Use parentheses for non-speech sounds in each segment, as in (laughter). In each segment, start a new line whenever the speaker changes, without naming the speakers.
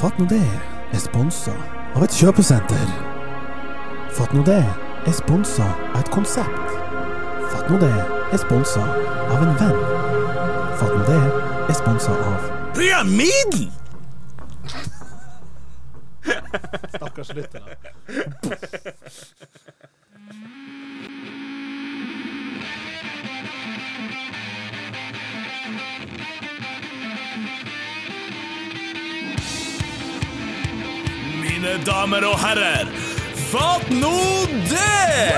Fatt nå det er sponsa av et kjøpesenter. Fatt nå det er sponsa av et konsept. Fatt nå det er sponsa av en venn. Fatt nå det er sponsa av
Pyramiden!
Stakkars lyttere.
Mine damer og herrer, fatt nå det!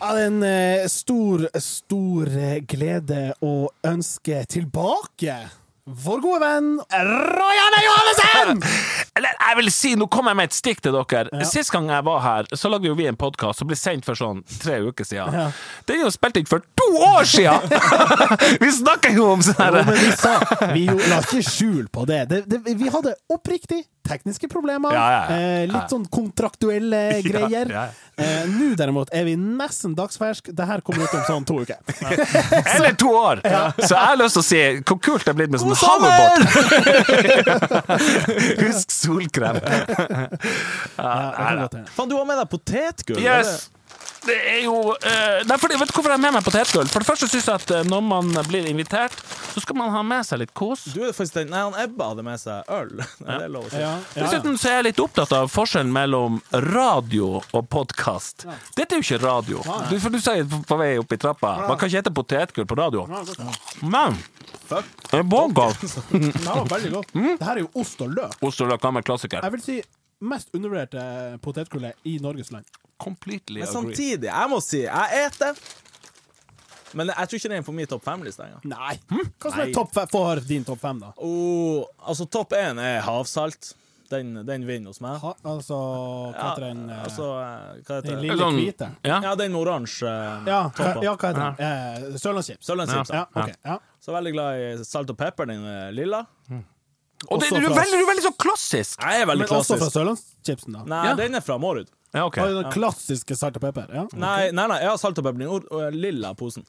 Ja, det er en eh, stor, stor eh, glede å ønske tilbake vår gode venn Rojane Johannessen!
Eller jeg vil si, nå kommer jeg med et stikk til dere. Sist gang jeg var her, så lagde jo vi en podkast som ble sendt for sånn tre uker siden.
Ja.
Den er jo spilt inn for to år
(laughs)
siden! vi snakker jo om sånn
Jo,
her
men vi sa Vi jo, la ikke skjul på det. det, det vi hadde oppriktig tekniske problemer.
Ja, ja, ja.
Eh, litt sånn kontraktuelle greier.
ja.
Eh, Nå derimot er vi nesten dagsfersk. Det her kommer ut om sånn to uker.
Eller to år! Så jeg har lyst til å si hvor kult det er blitt med sånn
God sommer!
hoverbåt!
(laughs)
Husk solkrem!
Ja, det kan godt hende.
Faen, du har med deg potetgull!
Yes! Det er jo eh, Nei, fordi, vet du hvorfor jeg har med meg potetgull? For det første syns jeg at eh, når man blir invitert, så skal man ha med seg litt kos.
eller? Du er faktisk den Nei, han Ebba hadde med seg øl. (laughs) Nei, det er lov å si.
Ja, ja, ja.
Dessuten så er jeg litt opptatt av forskjellen mellom radio og podkast. Dette er jo ikke radio. Du, for du sa jo på- på vei opp i trappa Man kan ikke hete potetgull på radio. Men
Fuck.
en podkast
Det her var veldig godt. Det her er jo ost og løk.
Ost og løk gammel klassiker.
Jeg vil si mest undervurderte potetgullet i Norges land.
Completely
(laughs) Men
agree.
samtidig, jeg må si, jeg eter. Men jeg tror ikke det er på min topp fem-liste engang.
Nei. Hva som er
Nei.
topp fem? Få høre din topp fem, da.
Oh, altså, topp én er havsalt. Den, den vinner hos meg.
Ha, altså Hva heter den eh,
altså, eh, hva heter
Den
det?
lille
Sånn-
hvite?
Ja.
Ja, den med oransje eh,
Ja, hva,
toppa.
ja, hva heter den? Eh, Sørlandschips.
Sørlandschips.
Ja,
Ja.
OK. Ja.
Så veldig glad i salt og pepper, den eh, lilla.
Og det,
Også
du, er
fra-
veldig, du er veldig så klassisk!
Jeg er veldig
Men også fra
klassisk.
Sørlandschipsen, da?
Nei,
Ja.
den er fra Mårud.
Ja, ok
Og den klassiske salt og pepper? Ja.
Nei, nei, nei, jeg har salt og pepper. Den or- og lilla posen.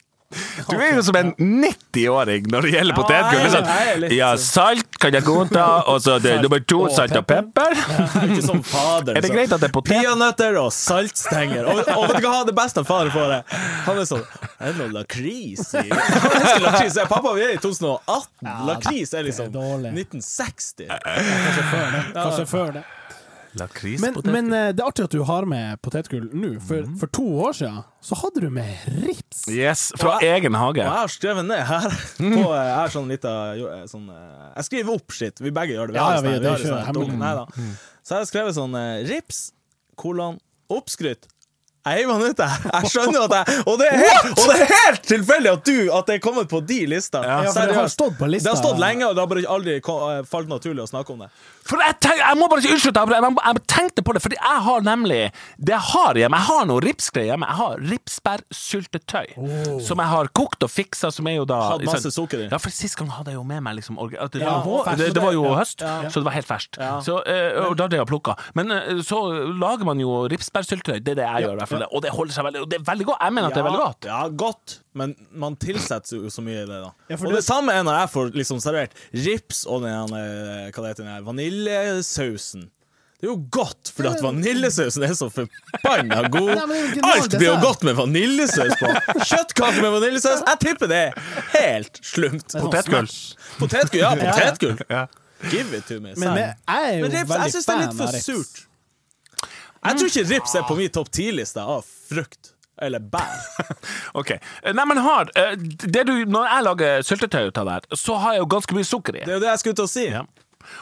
Du er jo som en 90-åring når det gjelder
Ja,
potetgull. Det er
jeg er- jeg er
Sånn,
litt-
ja, salt kan jeg godta, og så det er nummer to
og
salt og pepper.
Jeg er (laughs) Ikke som fader.
Er det
så.
greit at det er potet?
Peanøtter og saltstenger. Og, og vet du hva det beste av faren får? det? Han er sånn Er det noe lakris i (laughs) Jeg elsker lakris. Jeg, Pappa, vi er i 2018. Lakris er liksom
det er dårlig.
1960.
Kanskje før det. Kanskje før det. Men,
Lakrispotet.
men eh, det er artig at du har med potetgull nå. For,
Mhm.
for to år siden så hadde du med rips.
Yes, fra egen hage.
Og jeg har skrevet ned her
Mm.
på, eh, Jeg har sånn lita jo, eh, sånn, eh, Jeg skriver opp shit. Vi begge gjør det. Vi
Ja,
har
ja,
en
vi-
sånn-
det
vi
er
har en
ikke
sånn
hemmelig. Mm.
dum- Nei da. Så jeg har skrevet sånn eh, rips, kolon, oppskrytt. Jeg heiv han ut, jeg. Jeg skjønner at jeg Og det er helt, og det er helt tilfeldig at du At det er kommet på de lista.
Ja, for det har stått på lista.
Det har stått lenge, og det har bare aldri ko- eh, falt naturlig å snakke om det.
For jeg, tenk, jeg må bare si unnskyld, jeg, jeg, jeg tenkte på det, fordi jeg har nemlig Det jeg har hjemme, jeg har noe ripsgreier hjemme. Jeg har ripsbærsyltetøy. Som jeg har kokt og fiksa, som er jo da
Hatt Oh. masse sukker i.
Ja, for sist gang hadde jeg jo med meg liksom orga- at det,
Ja,
det, var-
ferskt.
det, det var jo
Ja.
høst, så det var helt ferskt. Så, eh, og da ble jeg plukka. Men eh, så lager man jo ripsbærsyltetøy, det er det jeg gjør i hvert fall. Og det holder seg veldig Og det er veldig godt. Jeg mener at det er veldig godt.
Ja, godt, men man tilsetter jo så mye i det, da.
Ja, for
og
du-
det samme er når jeg får liksom servert rips og den her, eh, hva det heter den her, vaniljesausen. Det er jo godt, fordi at vaniljesausen er så forbanna god.
Nei, men det er jo ikke noe
Alt blir jo
dessert.
godt med vaniljesaus på. Kjøttkaker med vaniljesaus, jeg tipper det er helt slumt.
Potetgull.
Potetgull, ja,
ja.
potetgull. Give it to me.
Men eh,
sang.
jeg jeg er jo
Men rips, jeg
veldig
syns det er litt
fan av
for
rips.
surt. Jeg tror ikke rips er på min topp ti-liste av frukt eller bær.
Ok. Eh, Nei, men har eh, det du, Når jeg lager syltetøy ut av det her, så har jeg jo ganske mye sukker i.
Det er jo det jeg skulle til å si.
Ja.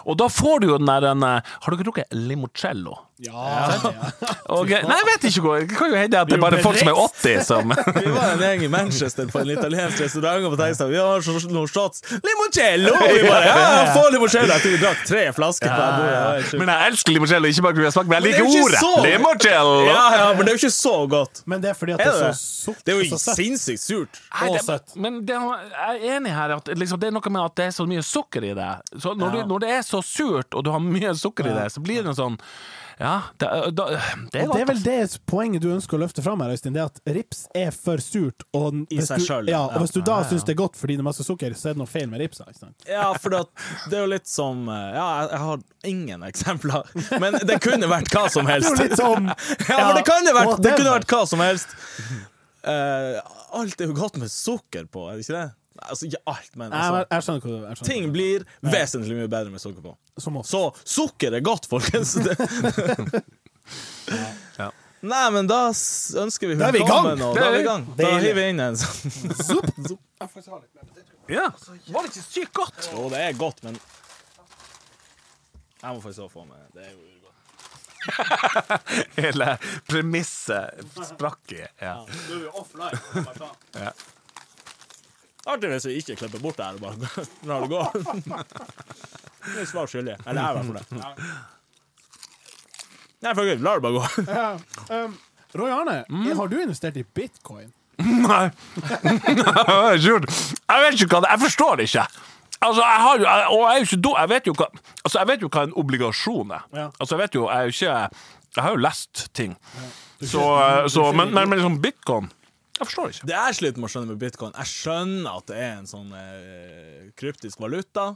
Og da får du jo den der den, eh, Har dere drukket limoncello?
Ja, ja.
Og, eh, nei, jeg vet ikke hvor. Det kan jo hende at det er bare folk som er 80 (laughs) som
Vi var en gjeng i Manchester på en italiensk restaurant og på Tegnstad. Vi har så- noen shots. Limoncello! Og vi bare, ja, få limoncello! Jeg tror vi drakk tre flasker på det bordet. Det var helt sjukt.
Men jeg elsker limoncello, ikke bare fordi jeg smaker, men jeg
Men det
liker
er jo ikke
ordet!
så-
Limoncello!
Ja, ja, men det er jo ikke så godt.
(laughs) Men det er fordi at
Er
det
det
er
det?
så sukker.
Det er jo
så søtt.
sinnssykt surt.
Nei, det-
Å, søtt.
men det, jeg er enig her at liksom, det er noe med at det er så mye sukker i det. Så når, du, når det er så surt, og du har mye sukker i det, så blir det en sånn Ja, det, da, det er
Og det er
godt. altså.
vel det poenget du ønsker å løfte fram her, Øystein. Det er at rips er for surt. Og n-
I
hvis
seg
du,
selv,
ja,
ja.
og hvis du da syns det er godt fordi det er masse sukker, så er det noe feil med ripsa. Ikke
(laughs)
sant?
Ja, for det, at- det er jo litt som eh, Ja, jeg, jeg har ingen eksempler, men det kunne vært hva som helst.
Det er jo litt sånn- som-
(laughs) Ja, men det kunne vært, det kunne
whatever.
vært hva som helst. Eh, alt er jo godt med sukker på, er det ikke det? Altså, ikke alt, men
Nei, men
altså,
jeg skjønner hva du jeg skjønner
ting
hva du-
blir vesentlig mye bedre med sukker på.
Som
(laughs)
oss.
Så sukker er godt, folkens! Det.
Ja.
Nei, men da s- ønsker vi
er vi i gang.
velkommen, og
Det
da er vi
er-
i gang. Da
Deilig.
hiver vi inn en sånn.
Ja. Var det ikke sykt (laughs) godt?
(laughs) Jo, det er godt, men Jeg må faktisk også få med Det er jo godt.
Hele premisset sprakk i. Ja.
Artig hvis vi ikke klipper bort det her og bare (laughs) lar det gå. (laughs) Vi er svar skyldige. Eller jeg er i hvert fall det. Nei, fuck it. La det bare gå.
Ja, um, Roy Arne, har du investert i bitcoin?
Nei. (laughs) Nei, Sjur. Jeg vet ikke hva det Jeg forstår det ikke. Altså, jeg har jo, jeg- og jeg er jo ikke dum. Jeg vet jo hva, altså, jeg vet jo hva en obligasjon er.
Ja.
Altså, jeg vet jo, jeg er jo ikke Jeg har jo lest ting. Så, så men, men, men liksom bitcoin Jeg forstår det ikke.
Det jeg sliter med å skjønne med bitcoin Jeg skjønner at det er en sånn eh, kryptisk valuta,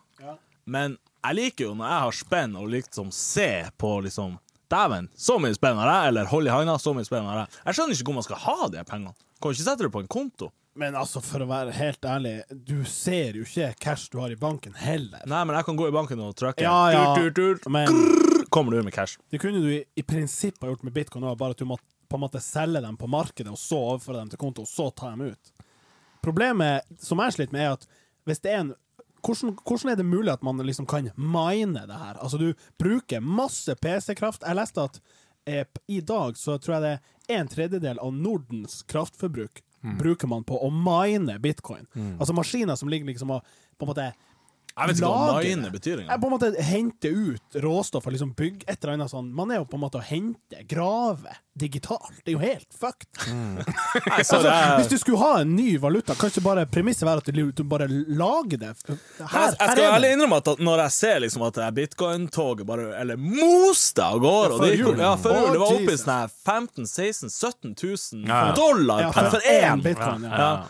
men jeg liker jo når jeg har spenn, og liksom se på liksom Dæven, så mye spenn har jeg, eller hold i handa, så mye spenn har jeg. Jeg skjønner ikke hvor man skal ha de her pengene. Kan jo ikke sette det på en konto.
Men altså, for å være helt ærlig, du ser jo ikke cash du har i banken heller.
Nei, men jeg kan gå i banken og trykke.
Ja, ja.
Tut, tut, tut.
Men
Kommer du med cash?
det kunne du i, i prinsippet ha gjort med bitcoin òg, bare at du måtte på en måte selge dem på markedet, og så overføre dem til konto, og så ta dem ut. Problemet som jeg sliter med, er at hvis det er en hvordan, hvordan er det mulig at man liksom kan mine det her? Altså, du bruker masse PC-kraft. Jeg leste at eh, p- i dag så tror jeg det er en tredjedel av Nordens kraftforbruk bruker man på å mine bitcoin. Altså maskiner som ligger liksom og på en måte
Jeg vet ikke hva
Lager
mine
det.
betyr engang.
Jeg på en måte henter ut råstoff og liksom bygger et eller annet sånn. Man er jo på en måte å hente, grave, digitalt. Det er jo helt fucked.
Nei,
Altså,
så Mm. det er-
(laughs) hvis du skulle ha en ny valuta, kan ikke bare premisset være at du bare lager det? Her,
Nei, jeg- jeg
her
skal
er
ærlig
det.
innrømme at at når jeg ser liksom at det her bitcoin-toget bare Eller moste av gårde og
før
det gikk-
jul.
ja, før jul, det var
Å,
oppe i
Jesus.
sånn her 15 000-16 000-17
Ja, ja.
000 dollar
Ja, for
per for én!
én bitcoin, ja.
Ja.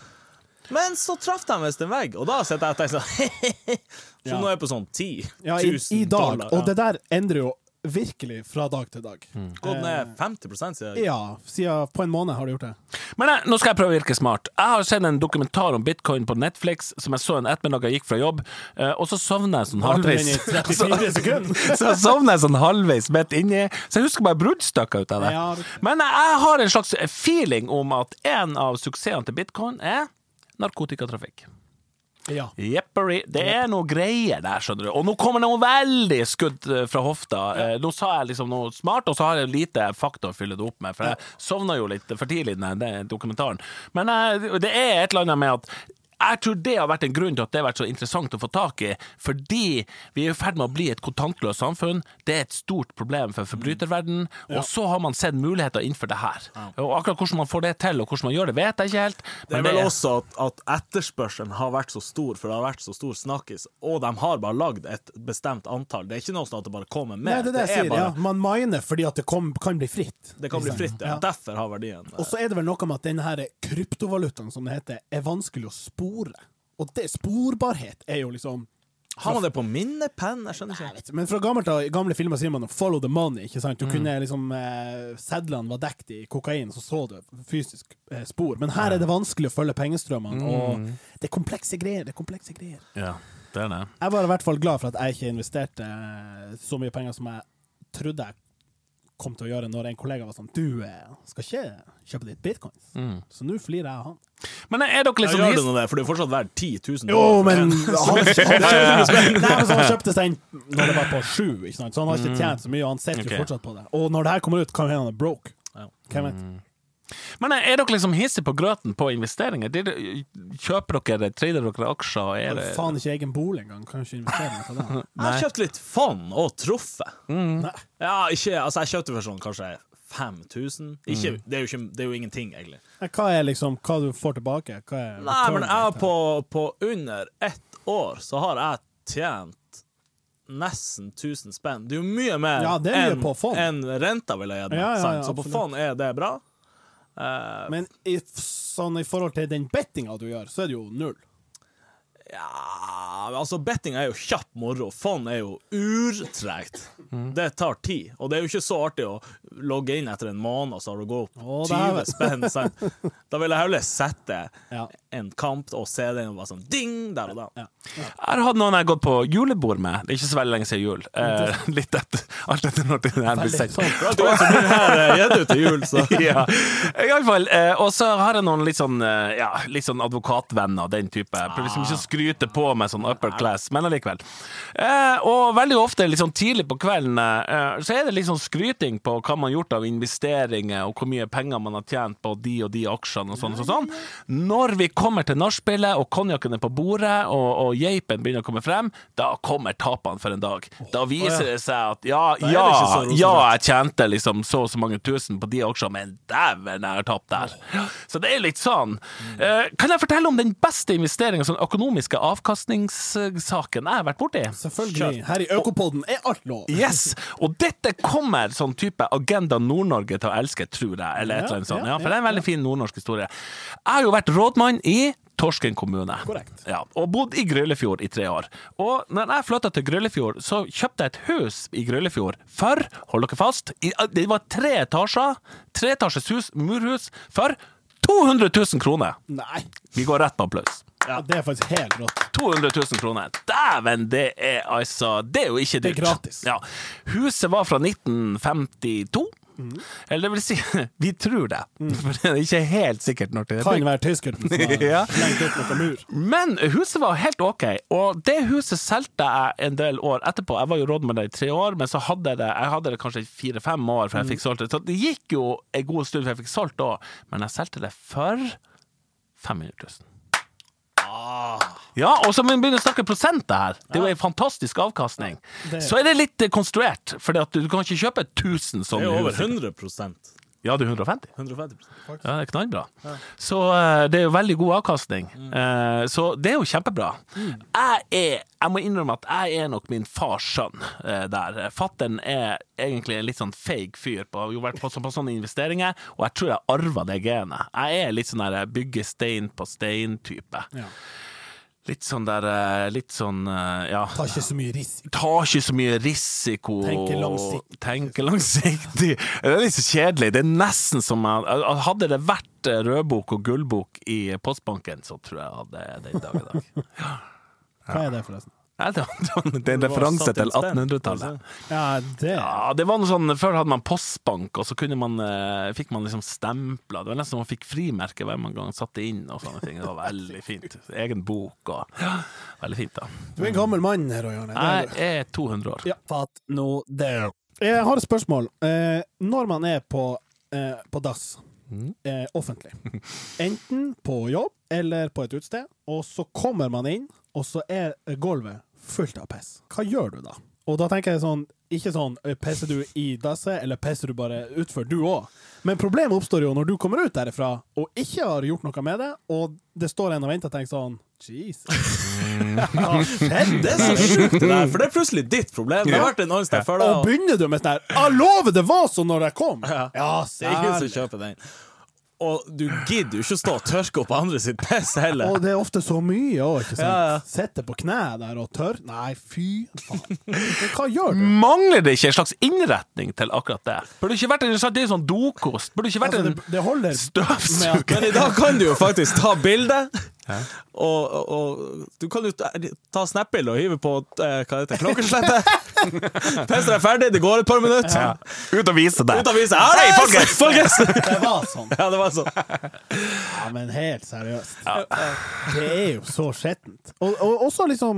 Men så traff de visst en vegg, og da sitter jeg og tenker sånn (laughs) Så
Ja.
nå er jeg på sånn 10
Ja,
000
i, I dag.
dollar.
Og det der endrer jo virkelig fra dag til dag.
Gått ned 50 sier jeg.
Ja, siden på en måned har det gjort det.
Men jeg, nå skal jeg prøve å virke smart. Jeg har sett en dokumentar om bitcoin på Netflix som jeg så en ettermiddag jeg gikk fra jobb, eh, og så sovna jeg sånn
(laughs)
halvveis. (laughs)
Varte den i 34 sekunder.
så sovna jeg sånn halvveis midt inni, så jeg husker bare bruddstykker ut av det.
Ja, riktig.
Men jeg, jeg har en slags feeling om at en av suksessene til bitcoin er narkotikatrafikk.
Ja.
Jeppery. Det er noe greier der, skjønner du. Og nå kommer det noe veldig skudd eh, fra hofta. Eh, Nå sa jeg liksom noe smart, og så har jeg lite fakta å fylle det opp med, for jeg sovna jo litt for tidlig i den den dokumentaren. Men eh, det er et eller annet med at jeg tror det har vært en grunn til at det har vært så interessant å få tak i, fordi vi er i ferd med å bli et kontantløst samfunn. Det er et stort problem for forbryterverdenen, og så har man sett muligheter innenfor det her. Og akkurat hvordan man får det til, og hvordan man gjør det, vet jeg ikke helt.
Det er
men
vel også at, at etterspørselen har vært så stor, for det har vært så stor snakkis, og de har bare lagd et bestemt antall. Det er ikke noe sånn at det bare kommer
Nei,
med.
det er det jeg sier.
bare,
Ja. Man miner fordi at det kom, kan bli fritt.
det kan bli fritt. Ja. Derfor har verdien
Og så er det vel noe med at denne her kryptovalutaen, som det heter, er vanskelig å spore. Og det, sporbarhet er jo liksom
Har man det på minnepenn? Jeg skjønner
jeg
ikke.
vet, ikke, Men fra gammelt av, i gamle filmer sier man 'follow the money'. ikke sant? Du kunne liksom, eh, Sedlene var dekt i kokain, så så du fysisk eh, spor. Men her er det vanskelig å følge pengestrømmene. og Det er komplekse greier. det er komplekse greier.
Ja, det er det.
Jeg var i hvert fall glad for at jeg ikke investerte eh, så mye penger som jeg trodde jeg kom til å gjøre, når en kollega var sånn 'Du eh, skal ikke kjøpe ditt bitcoins.' Så nå flirer jeg av han.
Men er dere
Jeg
liksom
gjør det nå det, for det er jo fortsatt verdt 10 000
Jo, men
Ja.
han, han, Nei, men så han kjøpte seg en når det var på sju, ikke sant? så han har ikke tjent så mye. Og han sitter
Ok.
jo fortsatt på det. Og når det her kommer ut, kan hende han er broke.
Ja.
Hvem vet?
Men er dere liksom hissige på grøten på investeringer? Dere- Kjøper dere, trader dere aksjer? og Er
Har
det...
jo faen ikke egen bolig engang. Kan jo ikke investere noe på det.
Jeg har kjøpt litt fond og truffet.
Nei.
Ja, ikke, altså jeg kjøpte for sånn kanskje 5000. Ikke,
Mm.
det, er jo ikke, det er jo ingenting, egentlig.
Nei, Hva er liksom Hva du får tilbake? Hva er
Nei,
return
men jeg har
rate?
på, på under ett år så har jeg tjent nesten 1000 spenn. Det er jo mye mer
Ja, det er mye på fond.
enn renta ville jeg gitt meg.
Ja, ja, ja,
sant? så på
absolutt.
fond er det bra. Eh,
Men i, f- sånn, i forhold til den bettinga du gjør, så er det jo null.
ja Altså, betting er jo kjapp moro. Fond er jo urtregt.
Mm.
Det tar tid. Og det er jo ikke så artig å logge inn etter en måned, og så har du gått
Å,
opp
dæven.
20 spenn.
(laughs)
Sant? Da vil jeg heller sette
Ja.
en kamp og se den og bare sånn ding der og da.
Ja.
Jeg har hatt noen jeg har gått på julebord med. Det er ikke så veldig lenge siden jul. Eh, litt etter, alt etter når det her blir sendt.
sånn.
Det var altså den her eh, gitt ut til jul,
(laughs)
så (laughs)
Ja, iallfall. Eh, og så har jeg noen litt sånn, eh, ja, litt sånn advokatvenner av den type. Jeg prøver liksom
Ah.
ikke å skryte på meg sånn upper class, men allikevel. Eh, og veldig ofte litt sånn tidlig på kvelden eh, så er det litt sånn skryting på hva man har gjort av investeringer, og hvor mye penger man har tjent på de og de aksjene og sånn og sånn. Når vi kommer til nachspielet, og konjakken er på bordet, og, og geipen begynner å komme frem, da kommer tapene for en dag. Da viser det seg at ja,
er det
ja,
ikke så rosenrødt.
ja, jeg tjente liksom så og så mange tusen på de aksjene, men dæven, jeg har tapt der. Så det er litt sånn. Eh, kan jeg fortelle om den beste investeringen, sånn økonomiske avkastningssaken jeg har vært borti?
Selvfølgelig. Her i Økopoden er alt lov.
Yes! Og dette kommer sånn type Agenda Nord-Norge til å elske, tror jeg. Eller et eller annet sånt. Ja, for det er en veldig fin nordnorsk historie. Jeg har jo vært rådmann i Torsken kommune.
Korrekt.
Ja, og bodd i Grøllefjord i tre år. Og når jeg flytta til Grøllefjord, så kjøpte jeg et hus i Grøllefjord for, hold dere fast, i, eh, det var tre etasjer, treetasjes hus, murhus, for 200 000 kroner.
Nei,
Vi går rett på applaus.
ja, det er faktisk helt rått.
200 000 kroner. Dæven, det er altså Det er jo ikke dyrt.
er gratis.
Ja. Huset var fra 1952. Eller det vil si, (laughs) vi tror det,
Mm.
for det er ikke helt sikkert når det er
Kan
bygd.
være tyskeren som har
Ja.
lengt opp noen mur.
Men huset var helt ok, og det huset solgte jeg en del år etterpå. Jeg var jo rådmann der i tre år, men så hadde jeg det, jeg hadde det kanskje i fire-fem år
Mm.
før jeg fikk solgt det. Så det gikk jo en god stund før jeg fikk solgt det òg, men jeg solgte det for 500 000.
Ah,
Ja, og så må vi begynne å snakke prosenter her. Det er jo en fantastisk avkastning.
det-
Så er det litt eh, konstruert, for du kan ikke kjøpe 1000
det er
sånne
jo over
hus.
100
Ja, det er 150.
150
Ja, det er knallbra. Så eh, det er jo veldig god avkastning.
Mm.
Eh, Så det er jo kjempebra. Jeg er, jeg må innrømme at jeg er nok min fars sønn eh, der. Fattern er egentlig en litt sånn feig fyr, på, har jo vært på, så- på sånne investeringer, og jeg tror jeg arva det genet. Jeg er litt sånn der bygge stein på stein-type.
Ja.
Litt sånn der eh, Litt sånn, eh, ja
Tar ikke så mye risiko.
tar ikke så mye risiko.
Tenker langsiktig.
Tenker langsiktig. Det er litt så kjedelig. Det er nesten som jeg, Hadde det vært eh, rødbok og gullbok i postbanken, så tror jeg hadde det i dag i
(laughs)
dag.
Hva er det, forresten?
Nei, det var- Det er en
Det var
referanse
satt i
til
en spenn,
1800-tallet.
Ja, det
Ja, det var noe sånn, Før hadde man postbank, og så kunne man, eh, fikk man liksom stempla. Det var nesten som man fikk frimerke hver gang man satte inn. og sånne ting. Det var veldig fint. Egen bok
(gasps)
og ja, Veldig fint, da.
Du er en gammel mann, her, Roy Arne. Det er
Jeg
du.
er 200 år.
Ja, fatt nå det. Jeg har et spørsmål. Eh, når man er på, eh, på dass, eh, offentlig, enten på jobb eller på et utested, og så kommer man inn, og så er gulvet fullt av piss, hva gjør du da? Og da tenker jeg sånn, ikke sånn eh, pisser du i dasset, eller pisser du bare utfor, du òg. Men problemet oppstår jo når du kommer ut derifra og ikke har gjort noe med det, og det står en og venter og tenker sånn Jesus. Hva skjedde?
Det er så sjukt, det der, for det er plutselig ditt problem. Det har vært en annen sted før. da,
Og begynner du med sånn her Jeg lover det var sånn når jeg kom! Ja,
Det er ingen som
særlig.
kjøper den. Og du gidder jo ikke å stå og tørke opp andre sitt piss heller.
Og det er ofte så mye òg, ikke sant?
Ja, ja.
Sitter på kne der og tørr. Nei, fy faen. Men hva gjør
(laughs)
du?
Mangler det ikke en slags innretning til akkurat det? Burde det ikke vært en, det er jo sånn dokost. Burde det ikke vært
Altså, det,
en
det
(laughs)
holder med at
støvsuger?
Men i dag kan du jo faktisk ta bilde. Og, og, og du kan jo ta- ta snap-bilde og hive på eh, hva heter det, (laughs) klokkeslettet. Pisset er ferdig, det går et par minutter.
Ut og vise det.
Ut av viset. Hei, folkens! folkens! (laughs)
det var sånn.
Ja, det var sånn.
Ja, men helt seriøst. Det er jo så skjettent. Og, og også liksom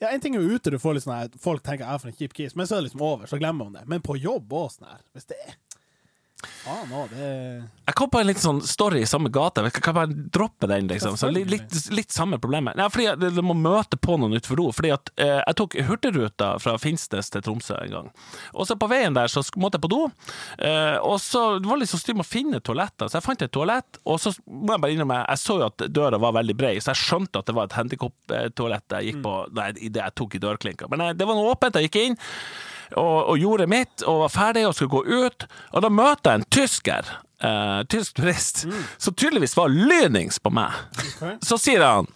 ja, En ting er jo ute, du får litt sånn her folk tenker jeg er for en kjip kis, men så er det liksom over, så glemmer man det. Men på jobb òg, sånn her, hvis det er Ah, nå, det
Jeg kom på en litt sånn story i samme gate. Jeg kan bare droppe den, liksom. Så litt, litt, litt samme problemet. Nei, fordi jeg- Du må møte på noen utenfor ro. Fordi at eh, jeg tok Hurtigruta fra Finnsnes til Tromsø en gang. Og så på veien der så sk- måtte jeg på do. Eh, og så det var det litt sånn styr med å finne toaletter, så jeg fant et toalett. Og så må jeg bare innrømme, jeg så jo at døra var veldig brei, så jeg skjønte at det var et handikap-toalett jeg gikk på nei, i det jeg tok i dørklinka. Men nei, det var noe åpent, jeg gikk inn og, og gjorde mitt, og var ferdig og skulle gå ut. Og da møter jeg en tysker, eh, tysk turist, som tydeligvis var lynings på meg. Så sier han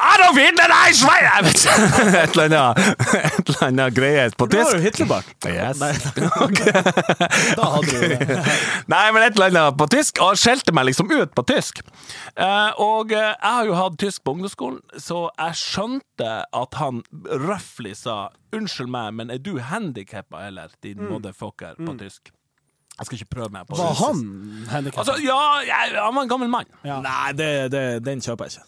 Adolf Hitler er sveier! Jeg vet ikke, (laughs) Et eller annet, et eller annet greie på
Det var
tysk.
jo Hitlerbart.
Yes. (laughs)
Da hadde du det.
Nei, men et eller annet på tysk, og han skjelte meg liksom ut på tysk. Eh, og eh, jeg har jo hatt tysk på ungdomsskolen, så jeg skjønte at han røffelig sa 'Unnskyld meg, men er du handikappa, eller, din motherfucker', på tysk. Jeg skal ikke prøve meg på
Mm. Var
det.
han handikappa?
Altså, ja, jeg, han var en gammel mann.
Ja.
Nei, det, det, den kjøper jeg ikke.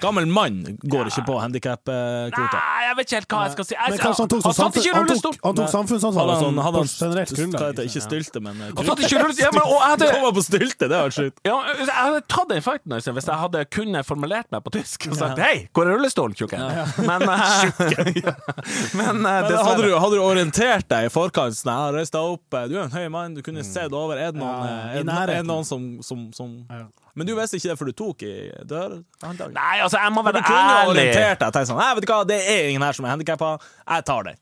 Gammel mann går ikke på handikap-kvota.
Nei, jeg vet ikke helt hva jeg skal si. Jeg,
Men kanskje han tok, sånn
satt
samfunn,
ikke i
han
rullestol!
tok, han tok samfunnsansvar og
Hadde han,
sånn på
hadde han
generelt
hva
grunnlag.
heter det, ikke
liksom, ja.
stylte, men eh,
Han satt ikke i rullestol! Ja, men, og jeg hadde,
Kommer på stylte, det var sjukt.
Ja, jeg hadde tatt den fighten altså, hvis jeg hadde kunne formulert meg på tysk og sagt 'hei, hvor er rullestolen, tjukken?' Men,
(laughs)
eh, (laughs) ja. men, eh,
Men hadde,
dessverre.
du, hadde du orientert deg i forkant? Sånn, jeg har reist deg opp, eh, du er en høy mann, du kunne sett over. Er det noen,
Mm. Ja,
eh,
i
er det noen, er
nærheten.
det noen som, som, som
Ja.
Men du visste ikke det, for du tok i dørhåndtaket.
Nei, altså, jeg må
Du
være
kunne jo
ærlig.
orientert deg. Tenkt sånn, Nei, vet du hva, det er ingen her som er handikappa, jeg tar den.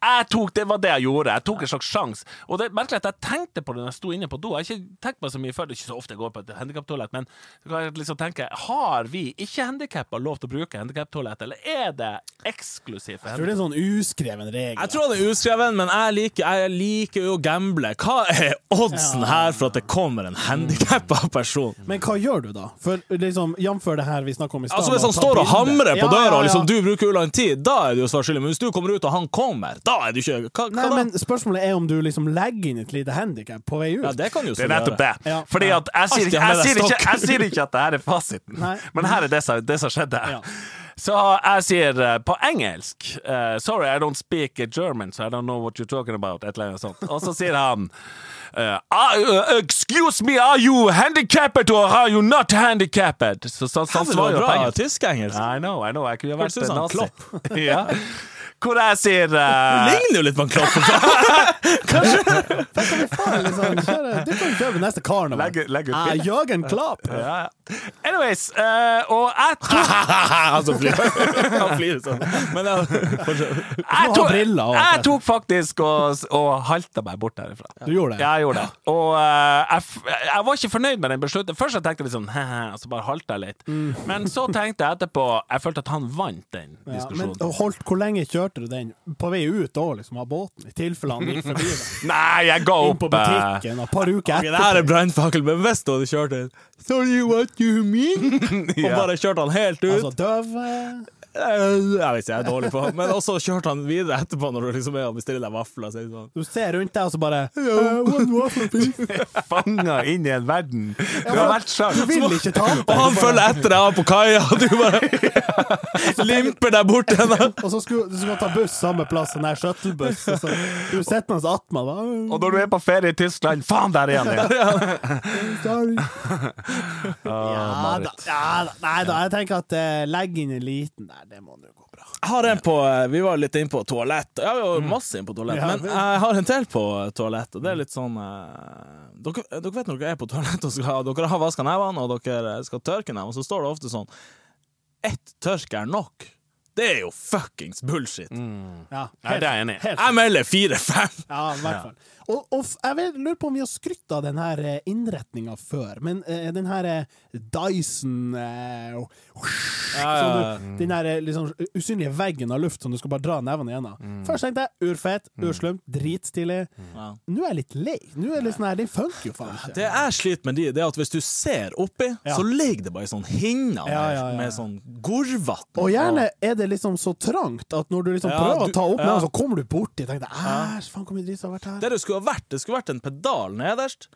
Jeg tok, Det var det jeg gjorde. Jeg tok en slags sjanse. Og det er merkelig at jeg tenkte på det når jeg sto inne på do. Jeg har ikke tenkt meg så mye før. Det er ikke så ofte jeg går på et handikaptoalett, men så kan jeg liksom tenke Har vi ikke-handikappa lov til å bruke handikaptoalett, eller er det eksklusivt for
Jeg tror
handikappa?
det er en sånn uskreven regel.
Jeg tror han er uskreven, men jeg liker, jeg liker jo å gamble. Hva er oddsen her for at det kommer en handikappa person?
Men hva gjør du da? For liksom, Jf. det her vi snakka om i stad.
Altså
med å
Hvis han
ta
står og
bilde.
hamrer
Ja,
på døra,
ja, ja.
og liksom du bruker ulang tid, da er det jo svar skyldig. Men hvis du kommer ut og han kommer, da er det ikke Hva, hva
Nei,
da?
men Spørsmålet er om du liksom legger inn et lite handikap på vei ut.
Ja, det kan jo
Det er
så
nettopp det.
gjøre.
Ja.
Fordi at jeg sier,
Alltid
ikke,
ha med
jeg,
deg
sier ikke,
stokk.
jeg sier ikke at det her er fasiten,
Nei.
men her er det som, det som skjedde. Så jeg sier eh, på engelsk eh, Sorry, I don't speak German, so I don't know what you're talking about. Et eller annet sånt. Og så sier han eh, "Are you- uh, Excuse me, are you handicapped or are you not handicapped? Så, så, så, han
Han
svarer
svarer
jo på
bra
engelsk.
tysk-engelsk.
I know, I know. Jeg kunne jo vært
Hørtes ut som han
nazi. (laughs) ja. Hvor jeg sier
Det
eh,
ligner jo litt på en klopp. (laughs)
Faen, liksom, kjøre- det kan vi prøve neste karneval.
Legg- legg ut
Jeg jager en klapp.
(laughs) ja, ja. Anyways, eh, og jeg tok
Han som flirer. (laughs) Han flirer sånn. Men ja,
jeg
ha
tok,
Altså, briller og
jeg
alt.
tok faktisk og, og halta meg bort herifra.
Du gjorde det?
Ja, jeg gjorde det. Og eh, jeg, f- jeg var ikke fornøyd med den beslutningen. Først jeg tenkte jeg litt sånn «Hehe», og så bare halta jeg litt. Men så tenkte jeg etterpå Jeg følte at han vant den
Mm. Ja, men
diskusjonen.
holdt, hvor lenge kjørte du den på vei ut da, liksom, av båten? I tilfelle han gikk forbi deg.
Nei, jeg ga
Inn
opp.
på
eh,
butikken og et par uker
Ok, det her
etterpå.
er brannfakkel, men hvis du hadde kjørt den Sorry, what you (laughs) mean? Og bare kjørt han helt ut.
Altså, døv eh,
Eh, jeg vet ikke, jeg er dårlig på Men også kjørte han videre etterpå, når du liksom er og bestiller deg vafler. Så er det sånn.
Du ser rundt deg, og så bare «Eh, one waffle, please».
eh, Fanga inn i en verden du har vært sjøl.
(laughs) Du vil ikke (laughs) ta den.
Og han følger etter deg på kaia, og du (laughs) bare limper deg bort til henne.
Og så skulle du skulle ta buss samme plass, en der shuttlebuss. og så- Du sitter mens attmed meg.
Og når du er på ferie i Tyskland Faen, der er han igjen!
Sorry. (laughs) Ja da, ja da. Nei da, jeg tenker at eh, legg inn en liten der, det må nå gå bra.
Jeg har en på eh, Vi var litt inne på toalett. Ja, vi var masse inne på toalett,
Mm. Ja,
men
vel.
jeg har en til på eh, toalett, og det er litt sånn eh, dere, dere vet når dere er på toalett og skal, dere har vaska nevene, og dere eh, skal tørke nevene, så står det ofte sånn Ett tørk er nok. Det er jo fuckings bullshit.
Mm. Ja,
Nei, det er jeg enig i.
helt-
Jeg melder fire-fem.
Ja, i hvert fall. Og, og f- jeg vet, lurer på om vi har skrytt av den her innretninga før, men eh, den her eh, Dyson eh, og-
ja, Mm.
som du- Den her eh, liksom, usynlige veggen av luft som du skal bare dra nevene gjennom.
Mm.
Først tenkte jeg urfett, urslumt, dritstilig.
Ja.
Nå er jeg litt lei. Nå er det litt sånn her, den funker jo faen ikke.
Mm. Det jeg sliter med de, det er at hvis du ser oppi,
Ja.
så ligger det bare sånn hinner med,
Ja, ja, ja.
med sånn gorvatn.
Og gjerne er det liksom så trangt at når du liksom
Ja,
prøver
du-
å ta opp
ja.
nevene, så kommer du borti og tenker æsj, faen hvor mye dritt som har vært her.
Det det skulle ha vært, det skulle vært en pedal nederst,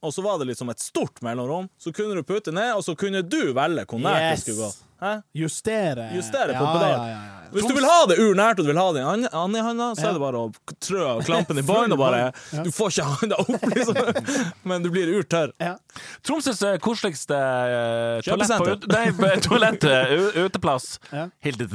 og så var det liksom et stort mellomrom. Så kunne du putte ned, og så kunne du velge hvor nært
Yes.
du skulle gå. Hæ?
Justere.
Justere på
ja,
pedal.
Ja, ja, ja.
Hvis du vil ha det urnært og du vil ha det i an- andre handa, så er det bare å k- trø
(laughs)
klampen i bånn og bare
Ja.
Du får ikke handa opp,
(laughs)
liksom, men du blir urtørr.
Ja.
Tromsøs eh, koseligste eh, toalett på
Kjøpesenter.
ut, nei, (laughs) b- toalett, eh, u- uteplass.
Ja.
Hildrid.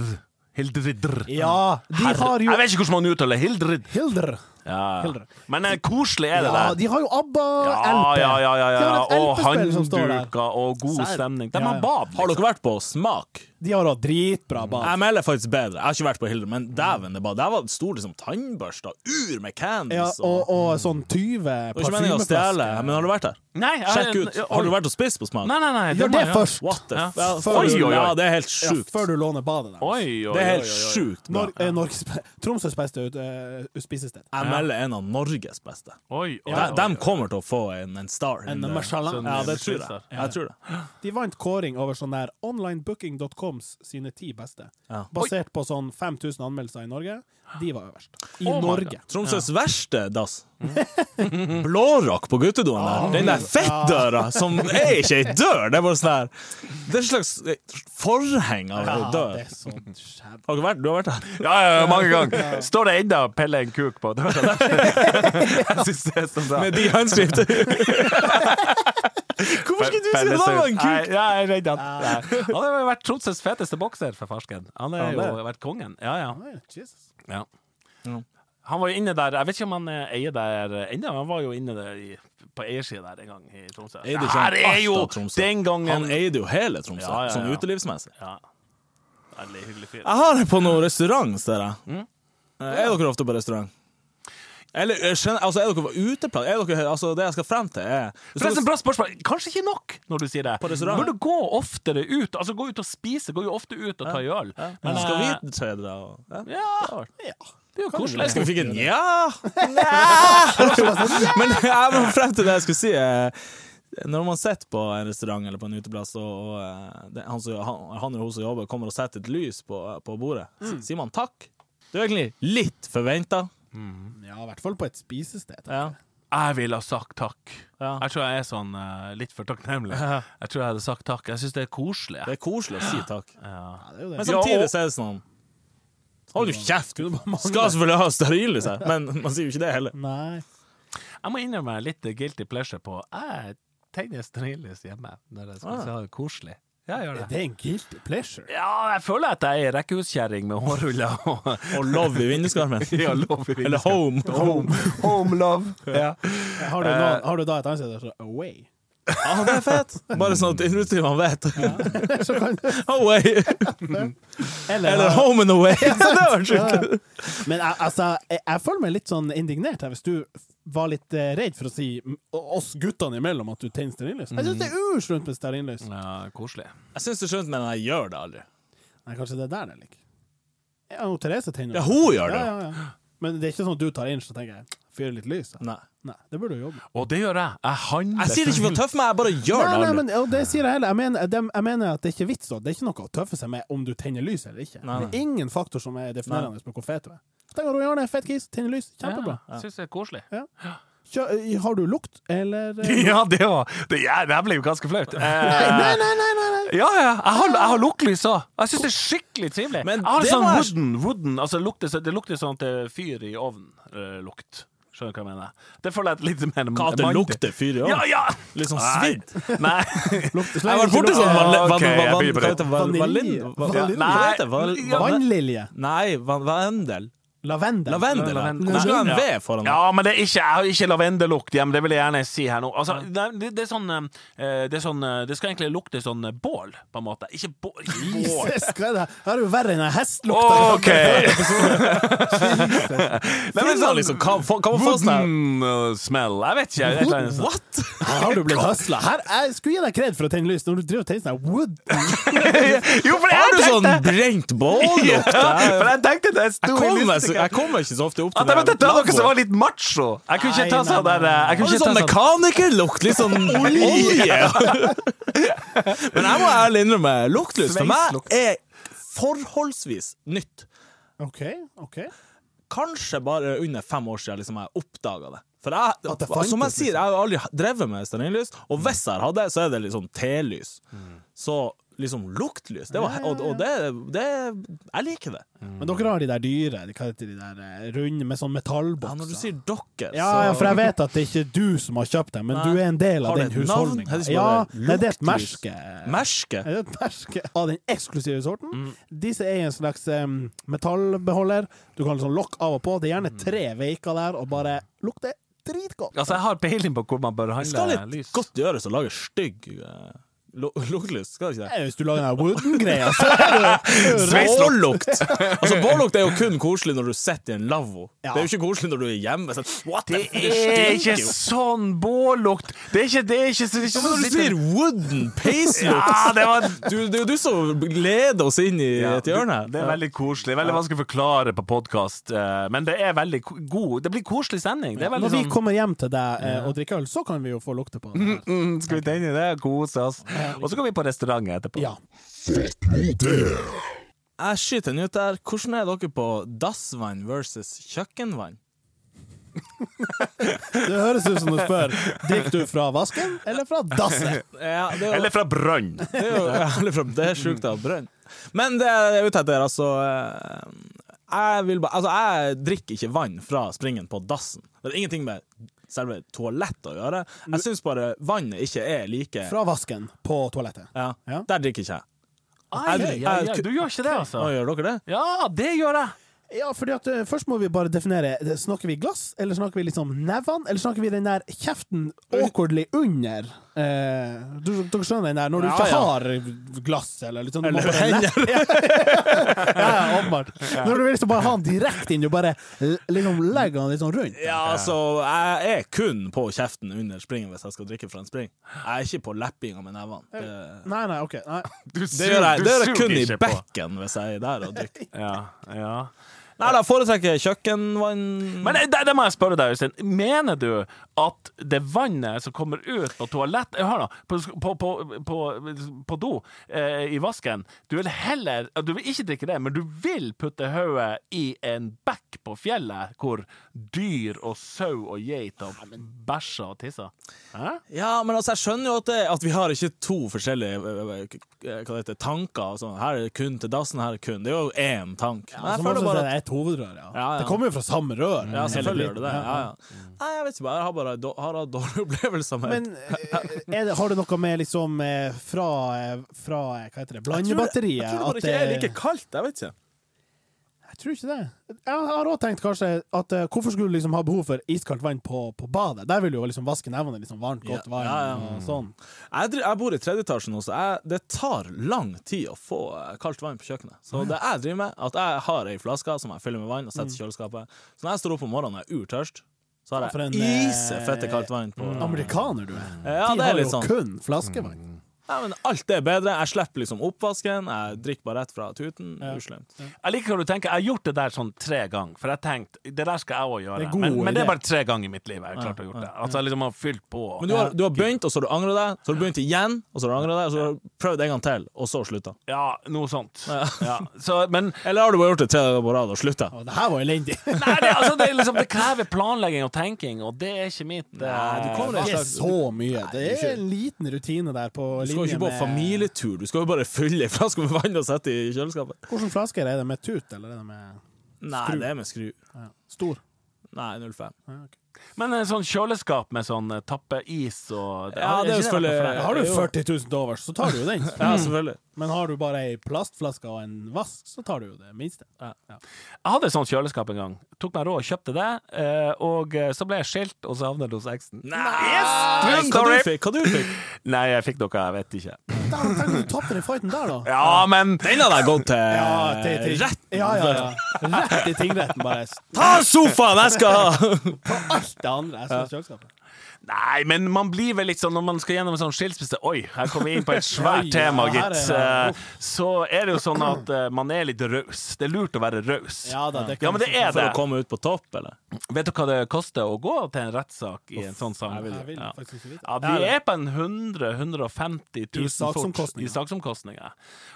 Hildridr.
Ja, de har jo
Jeg vet ikke hvordan man uttaler Hildrid.
Hilder.
Ja.
Hildre.
Men eh, koselig er det
Ja,
der.
de har jo
Ja,
ABBA-LP.
ja, ja, ja,
De
ja.
har et
Og
LP-spill som står der.
handduker og god
Serr.
stemning. De
Ja, ja.
har bad.
liksom.
Har dere vært på Smak?
De har da dritbra bad.
Jeg melder faktisk bedre. Jeg har ikke vært på Hildre, men dæven, det bare Der var det stor liksom, tannbørster, ur med
Ja,
cans
og, og sånn 20
Det var ikke meningen å stjele,
parfymeflasker.
men har du vært der?
Nei, jeg-
Sjekk ut.
ja,
Har du vært og spist på Smak?
Nei, nei, nei.
Gjør
må
det
jeg-
først,
What the
Ja.
f... Ja,
Før du-
oi, oi, oi. ja, det er helt
ja,
sjukt.
før du låner badet der.
Oi, oi, oi.
Det
oi,
er helt
oi.
sjukt bra.
Nor eh, Norges, Tromsøs beste ut, eh, spisested.
Jeg melder en av Norges beste.
Oi, oi,
De,
oi.
de kommer til å få en, en star.
En
in the-
Mashallah.
sånn-
Ja, det tror jeg.
Michelin-star.
Jeg tror det.
De vant kåring over sånn der onlinebooking.coms sine ti beste.
Ja.
Basert på sånn 5000 anmeldelser i Norge. De var øverst. I
Oh my
Norge.
Tromsøs verste dass. Mm. (laughs) Blårock på guttedoen der. Den der fettdøra som er ikke ei dør, det er bare sånn der Det er et slags eh, forheng av ei dør.
det er
(laughs)
sånn skjæv.
Har du vært, du har vært der?
Ja, ja, ja, mange ganger. Står det enda 'pelle en kuk' på? (laughs) Det
(laughs)
var det verste. Jeg synes det er sånn- så bra.
Med de (laughs) håndskriftene? Hvorfor skulle du si det var en
Nei,
kuk?
ja, jeg er redd han.
Ah.
Nei. Han har jo vært Tromsøs feteste bokser, for farsken. Han
Ja,
har jo
det.
vært kongen. Ja, ja.
Nei, Jesus.
ja.
Ja.
Han var jo inne der Jeg vet ikke om han eh, eier der eh, ennå, men han var jo inne der i, på eiersida der en gang i Tromsø.
Eide
Det
ikke
her
han
er jo
alt av Tromsø?
den
Han
gangen
eide jo hele Tromsø,
Ja, ja, ja.
sånn utelivsmessig.
Ja. Veldig hyggelig fyr.
Jeg har det på noen restaurant, ser jeg. Eh, Er dere ofte på restaurant? Eller eh, gen- altså, er dere på uteplass? Er dere, altså, det jeg skal frem til, er
Forresten, bra spørsmål. Kanskje ikke nok, når du sier det.
På restaurant.
Burde gå oftere ut. Altså, gå ut og spise. Går jo ofte ut og ta en øl.
Men skal
eh,
vi tre det? og- Ja.
Ja,
Ja.
det er jo
Jeg
koselig.
skal vi fikk en ja? (laughs) Men jeg må frem til det jeg skulle si. eh, Når man sitter på en restaurant eller på en uteplass, og, og eh, det, han, som, han, han eller hun som jobber, kommer og setter et lys på, på bordet, sier man takk? Det er egentlig litt forventa.
ja, i hvert fall på et spisested.
Ja.
Jeg ville ha sagt takk.
Ja.
Jeg tror jeg er sånn eh, litt for takknemlig. Jeg tror jeg hadde sagt takk. Jeg syns det er koselig.
Det er koselig å si takk.
Ja, det er jo det.
Men
Ja,
samtidig
og-
så er det sånn Hold jo kjeft! Skal selvfølgelig ha stearinlys her, men man sier jo ikke det heller.
Nei.
Jeg må innrømme litt guilty pleasure på Jeg tegner stearinlys hjemme når jeg skal
Ah.
ha det koselig. Ja, jeg gjør
Det
det.
er en guilty pleasure.
Ja, jeg føler at jeg er ei rekkehuskjerring med hårruller og
Og love i (laughs) vinduskarmen.
Ja, love i
Eller home.
home, home (laughs) love. Ja.
Har du, noen, har du da et annet sted der så away?
Eh. Ja, det er fett! Bare sånn at uteligerne vet.
(laughs) Så kan du,
(laughs) Away!
eller,
Eller home and (laughs) away! Så det var skikkelig
Men jeg- altså, jeg, jeg føler meg litt sånn indignert her, hvis du f- var litt eh, redd for å si mm, oss guttene imellom at du tenner stearinlys. Jeg syns det er urs rundt med
Mm.
stearinlys.
ja, koselig.
Jeg syns det er skjønt, men jeg gjør det aldri.
Nei, kanskje det er der det ligger. Ja, og Therese tenner
Ja, hun
ja,
gjør det!
ja, ja. Men det er ikke sånn at du tar inn, så tenker jeg fyrer litt lys. da.
Nei.
Nei, det burde du jobbe med.
Og det gjør jeg. Jeg handler
Jeg sier det ikke for å tøffe meg, jeg bare gjør
Nei,
det
nei,
aldri.
men og det sier jeg heller. Jeg mener, dem- jeg mener at det er ikke vits. da. Det er ikke noe å tøffe seg med om du tenner lys eller ikke.
Nei, nei.
Det er ingen faktor som er definerende på hvor fet du er. Tenk om du gjør det, fett kis, tenner lys, kjempebra.
Ja, syns det er koselig.
Kjø, eh, har du lukt, eller
(laughs)
eh,
(laughs) Ja, det var Det, ja, det her ble jo ganske flaut.
Nei,
Eh,
nei, nei! nei, nei.
Ja, ja. Jeg har, jeg har luktlys òg. Jeg syns det er skikkelig trivelig.
Ah. Men
jeg har
det
sånn
var-
wooden, wooden altså det lukter, så- det lukter sånn at det er fyr i ovnen-lukt. Skjønner du hva jeg mener? Det føler jeg er litt mer
Hva at det lukter fyr i
Ja,
år?
ja!
Litt sånn
Nei.
svidd.
Nei.
(laughs)
Lukter
Jeg var borti sånn vanli-
Ja,
van-
ok, jeg
van-
blir
hva
beredd.
heter det? Van-
Vanilje.
valin- va-
Ja,
Nei,
nei.
hva heter det? Val-
Ja,
van-
Vannlilje.
Nei, van- vandel.
Lavendel.
Lavendel. ja.
Lavendel.
Du skulle ha en
Nei.
V foran deg.
Ja, men det er ikke, jeg har ikke lavendellukt hjemme, det vil jeg gjerne si her nå. Altså, nei, det, det er sånn eh, Det er sånn eh, Det skal egentlig lukte sånn eh, bål, på en måte. Ikke bål. Ikke
(laughs)
bål.
Jesus, hva er det her? Her er jo verre enn den hestlukta.
(laughs)
OK!
sånn
Nei, men
Finner
sånn-
liksom, hva, hva kan man få sånn her?
Wooden uh, smell. Jeg vet ikke. Jeg, sånn- jeg, jeg,
What?
(laughs) Her har du blitt høsla. Her, jeg skulle gi deg kred for å tenne lys når du driver og tenner sånn her wood.
jo, for
Har
jeg
du sånn
tenkte
brent bållukt?
ja, For jeg tenkte det sto
Jeg
i
kommer, så-
lista.
jeg kommer ikke så ofte opp til
At jeg måtte ta noe som
lavvoen.
var litt macho. Jeg kunne ikke
Nei,
ta
nei,
sånn der eh, jeg
Har
kunne
du
ikke
sånn
ta sånn-
mekanikerlukt? Litt sånn olje? (laughs) Men jeg må ærlig innrømme, luktlys for meg
Sveislukt.
er forholdsvis nytt.
OK, OK.
Kanskje bare under fem år siden liksom, jeg oppdaga det. For jeg, altså,
At det fantes, liksom.
som jeg
Mm.
sier, jeg har aldri drevet med stearinlys, og hvis jeg har hatt det, liksom så er det litt sånn telys. Så liksom luktlys. Det var, og og det, det Jeg liker det.
Men dere har de der dyre, de, hva heter de der eh, runde med sånn
Ja,
metallbokser.
når du sier dere,
Ja, ja, for jeg vet at det er ikke du som har kjøpt den, men
Nei.
du er en del av
Har det
den
et navn?
husholdninga.
Her er det
Ja,
bare
nei, det er et
luktlys.
merke.
Merske.
Er det et merke av den eksklusive sorten?
Mm.
Disse er i en slags em, metallbeholder. Du kan sånn lokke av og på. Det er
Mm.
gjerne tre veiker der, og bare lukter dritgodt.
Altså, jeg har peiling på hvor man bør
Det skal
handle
litt
lys.
godt gjøres å lage stygg eh, lu- luktlys, skal det ikke det?
Eh, Hvis du lager den her wooden-greia, så er det (laughs)
(laughs) Bållukt! altså, bållukt er jo kun koselig når du sitter i en lavvo.
Ja.
Det er jo ikke koselig når du er hjemme. Sånn, what the
Det
fuck?
er
stinker
ikke
jo.
sånn bållukt! Det er ikke det er ikke, det er ikke sånn
Men Når du sier wooden pace-lukt
Ja, det var
du, Det er jo du som leder oss inn i et hjørne.
Det er veldig koselig. Veldig vanskelig å forklare på podkast, men det er veldig ko- god Det blir koselig stemning. Det er veldig
Når vi
sånn
kommer hjem til deg eh, og drikker øl, så kan vi jo få lukte på
(laughs)
den. her.
mm, Skal vi tenne i det? Kose oss. Og så kan vi på restaurant etterpå.
Ja.
Jeg skyter den ut der. Hvordan er dere på dassvann versus kjøkkenvann?
Det høres ut som du spør Drikker du fra vasken eller fra
(laughs)
dasset.
Ja, det er jo,
Eller fra brønn.
det (laughs) er jo eller fra- det er sjukt av brønn. Men det jeg er ute etter, altså eh, jeg, vil ba, altså jeg drikker ikke vann fra springen på dassen. Det har ingenting med selve toalettet å gjøre. Jeg syns bare vannet ikke er like
Fra vasken på toalettet.
ja,
Ja.
Der drikker ikke jeg.
Ai,
Jeg-
ai, ai,
jeg-
du gjør ikke det, altså?
Å, gjør dere det?
Ja, det gjør jeg!
Ja, fordi at eh, Først må vi bare definere. eh, Snakker vi glass, eller snakker vi liksom nevene? Eller snakker vi den der kjeften awkwardly under? Eh, du, dere skjønner den der når du
Ja,
ikke
ja.
har glass, eller liksom du må
Eller
bare le- ja, (laughs) ja, åpenbart. Når du vil liksom bare ha den direkte inn, du bare l- liksom legger den litt sånn rundt.
Ja, altså, jeg er kun på kjeften under springen hvis jeg skal drikke fra en spring. Jeg er ikke på leppinga med nevene. Det,
Nei, nei, OK. Nei.
det gjør
du
jeg, det gjør
suger
jeg kun i
ikke på.
bekken hvis jeg er der og drikker.
Ja, ja.
Nei, da foretrekker jeg kjøkkenvann
Men det, det må jeg spørre deg, Øystein. Mener du at det vannet som kommer ut på toalett eh, Hør nå, på, på, på, på, på do eh, i vasken Du vil heller eh, Du vil ikke drikke det, men du vil putte hodet i en bekk på fjellet hvor dyr og sau og geit og bæsjer og tisser. Hæ?
Ja, men altså, jeg skjønner jo at, det, at vi har ikke to forskjellige øh, øh, k- hva det heter, tanker. Og sånn. her er det kun til dassen, her er det kun. Det er jo én tank. Men
Så
jeg
må du
føler
si det
bare at
er et hovedrør, ja.
Ja, ja.
Det kommer jo fra samme rør.
ja, selvfølgelig gjør
Hele
det det. Ja, Mm. ja. Nei, jeg vet ikke, bare, jeg har bare då- har hatt dårlige (laughs) opplevelser med
Men eh, er det, har det noe med liksom eh, fra, eh, fra eh, Hva heter det? Blandebatteriet?
Jeg tror
at,
det bare ikke er
eh,
like kaldt. Jeg vet ikke.
Jeg tror ikke det. Jeg har òg tenkt kanskje at eh, hvorfor skulle du liksom ha behov for iskaldt vann på, på badet? Der vil du jo liksom vaske nevene liksom varmt, godt
Ja,
vann
ja, ja.
og sånn.
Jeg, dri- jeg bor i tredje etasjen nå, så jeg, det tar lang tid å få eh, kaldt vann på kjøkkenet. Så det jeg driver med, at jeg har ei flaske som jeg fyller med vann og setter i kjøleskapet. Så når jeg står opp om morgenen og er urtørst, så
For
har
en,
jeg
eh,
isefette kaldt vann på.
Mm. Amerikaner du er.
Mm. Ja,
De
det er
har
litt
jo
sånn.
kun flaskevann.
Ja, men alt er bedre. Jeg slipper liksom oppvasken. Jeg drikker bare rett fra tuten. Uslemt.
Jeg liker hva du tenker. Jeg har gjort det der sånn tre ganger. For jeg tenkte, det der skal jeg òg gjøre.
Det er god
men, men det
idé.
er bare tre ganger i mitt liv jeg har klart å gjøre det. Altså jeg liksom har fylt på.
Men du har, du har begynt, og så har du angret deg. Så har du begynt igjen, og så har du angret deg. Og så har du prøvd en gang til, og så slutta.
Ja, noe sånt.
(laughs)
Ja. Så, men
Eller har du bare gjort det tre dager på rad og slutta?
Og det her var elendig!
Nei, det, altså, det, er liksom, det krever planlegging og tenking, og det er ikke mitt. eh,
Nei, du (laughs) kommer
Det
deg
er så mye. Det er en liten rutine der på
Du skal jo
linje
ikke på
med
familietur, du skal jo bare fylle ei flaske med vann og sette i kjøleskapet.
Hvilke flasker er det? Med tut, eller er det med
Nei, det er med skru.
ja. Stor?
Nei, 05.
Ja, ok.
Men eh, sånn kjøleskap med sånn eh, tappe is og
Ja, Eh, det er jo
ikke
selvfølgelig-
for deg?
Har du
Jo.
40 000 til overs, så tar du jo den.
(laughs) Ja, selvfølgelig.
Men har du bare ei plastflaske og en vask, så tar du jo det minste.
Jeg hadde et sånt kjøleskap en gang. Tok meg råd og kjøpte det, eh, og eh, så ble jeg skilt, og så havnet det hos eksen.
Nei,
True
hva
story.
du fikk? Hva du fikk?
Nei, jeg fikk noe jeg vet ikke.
Der, tenk om du tapte den fighten der, da.
Ja, men
Den hadde jeg gått til
Eh,
til- til-
rett.
ja, ja, ja. Rett i tingretten, bare.
Ta sofaen, jeg skal ha!
Ta alt det andre. Jeg skal i kjøleskapet.
Nei, men man blir vel litt sånn når man skal gjennom en sånn skilsmisse Oi, her kommer vi inn
(laughs)
på et svært
Oi, ja,
tema,
her er
gitt.
det.
Eh, Så er det jo sånn at eh, man er litt raus. Det er lurt å være raus.
Ja da, det kan
Ja, men det
jeg
er
For
det.
å komme ut på topp, eller?
Vet du hva det koster å gå til en rettssak i en sånn
Jeg vil, jeg
sammenheng?
vil
Ja.
faktisk ikke vite.
Ja, vi er på en 100 150 000
I saksomkostninger.
fort i saksomkostninger.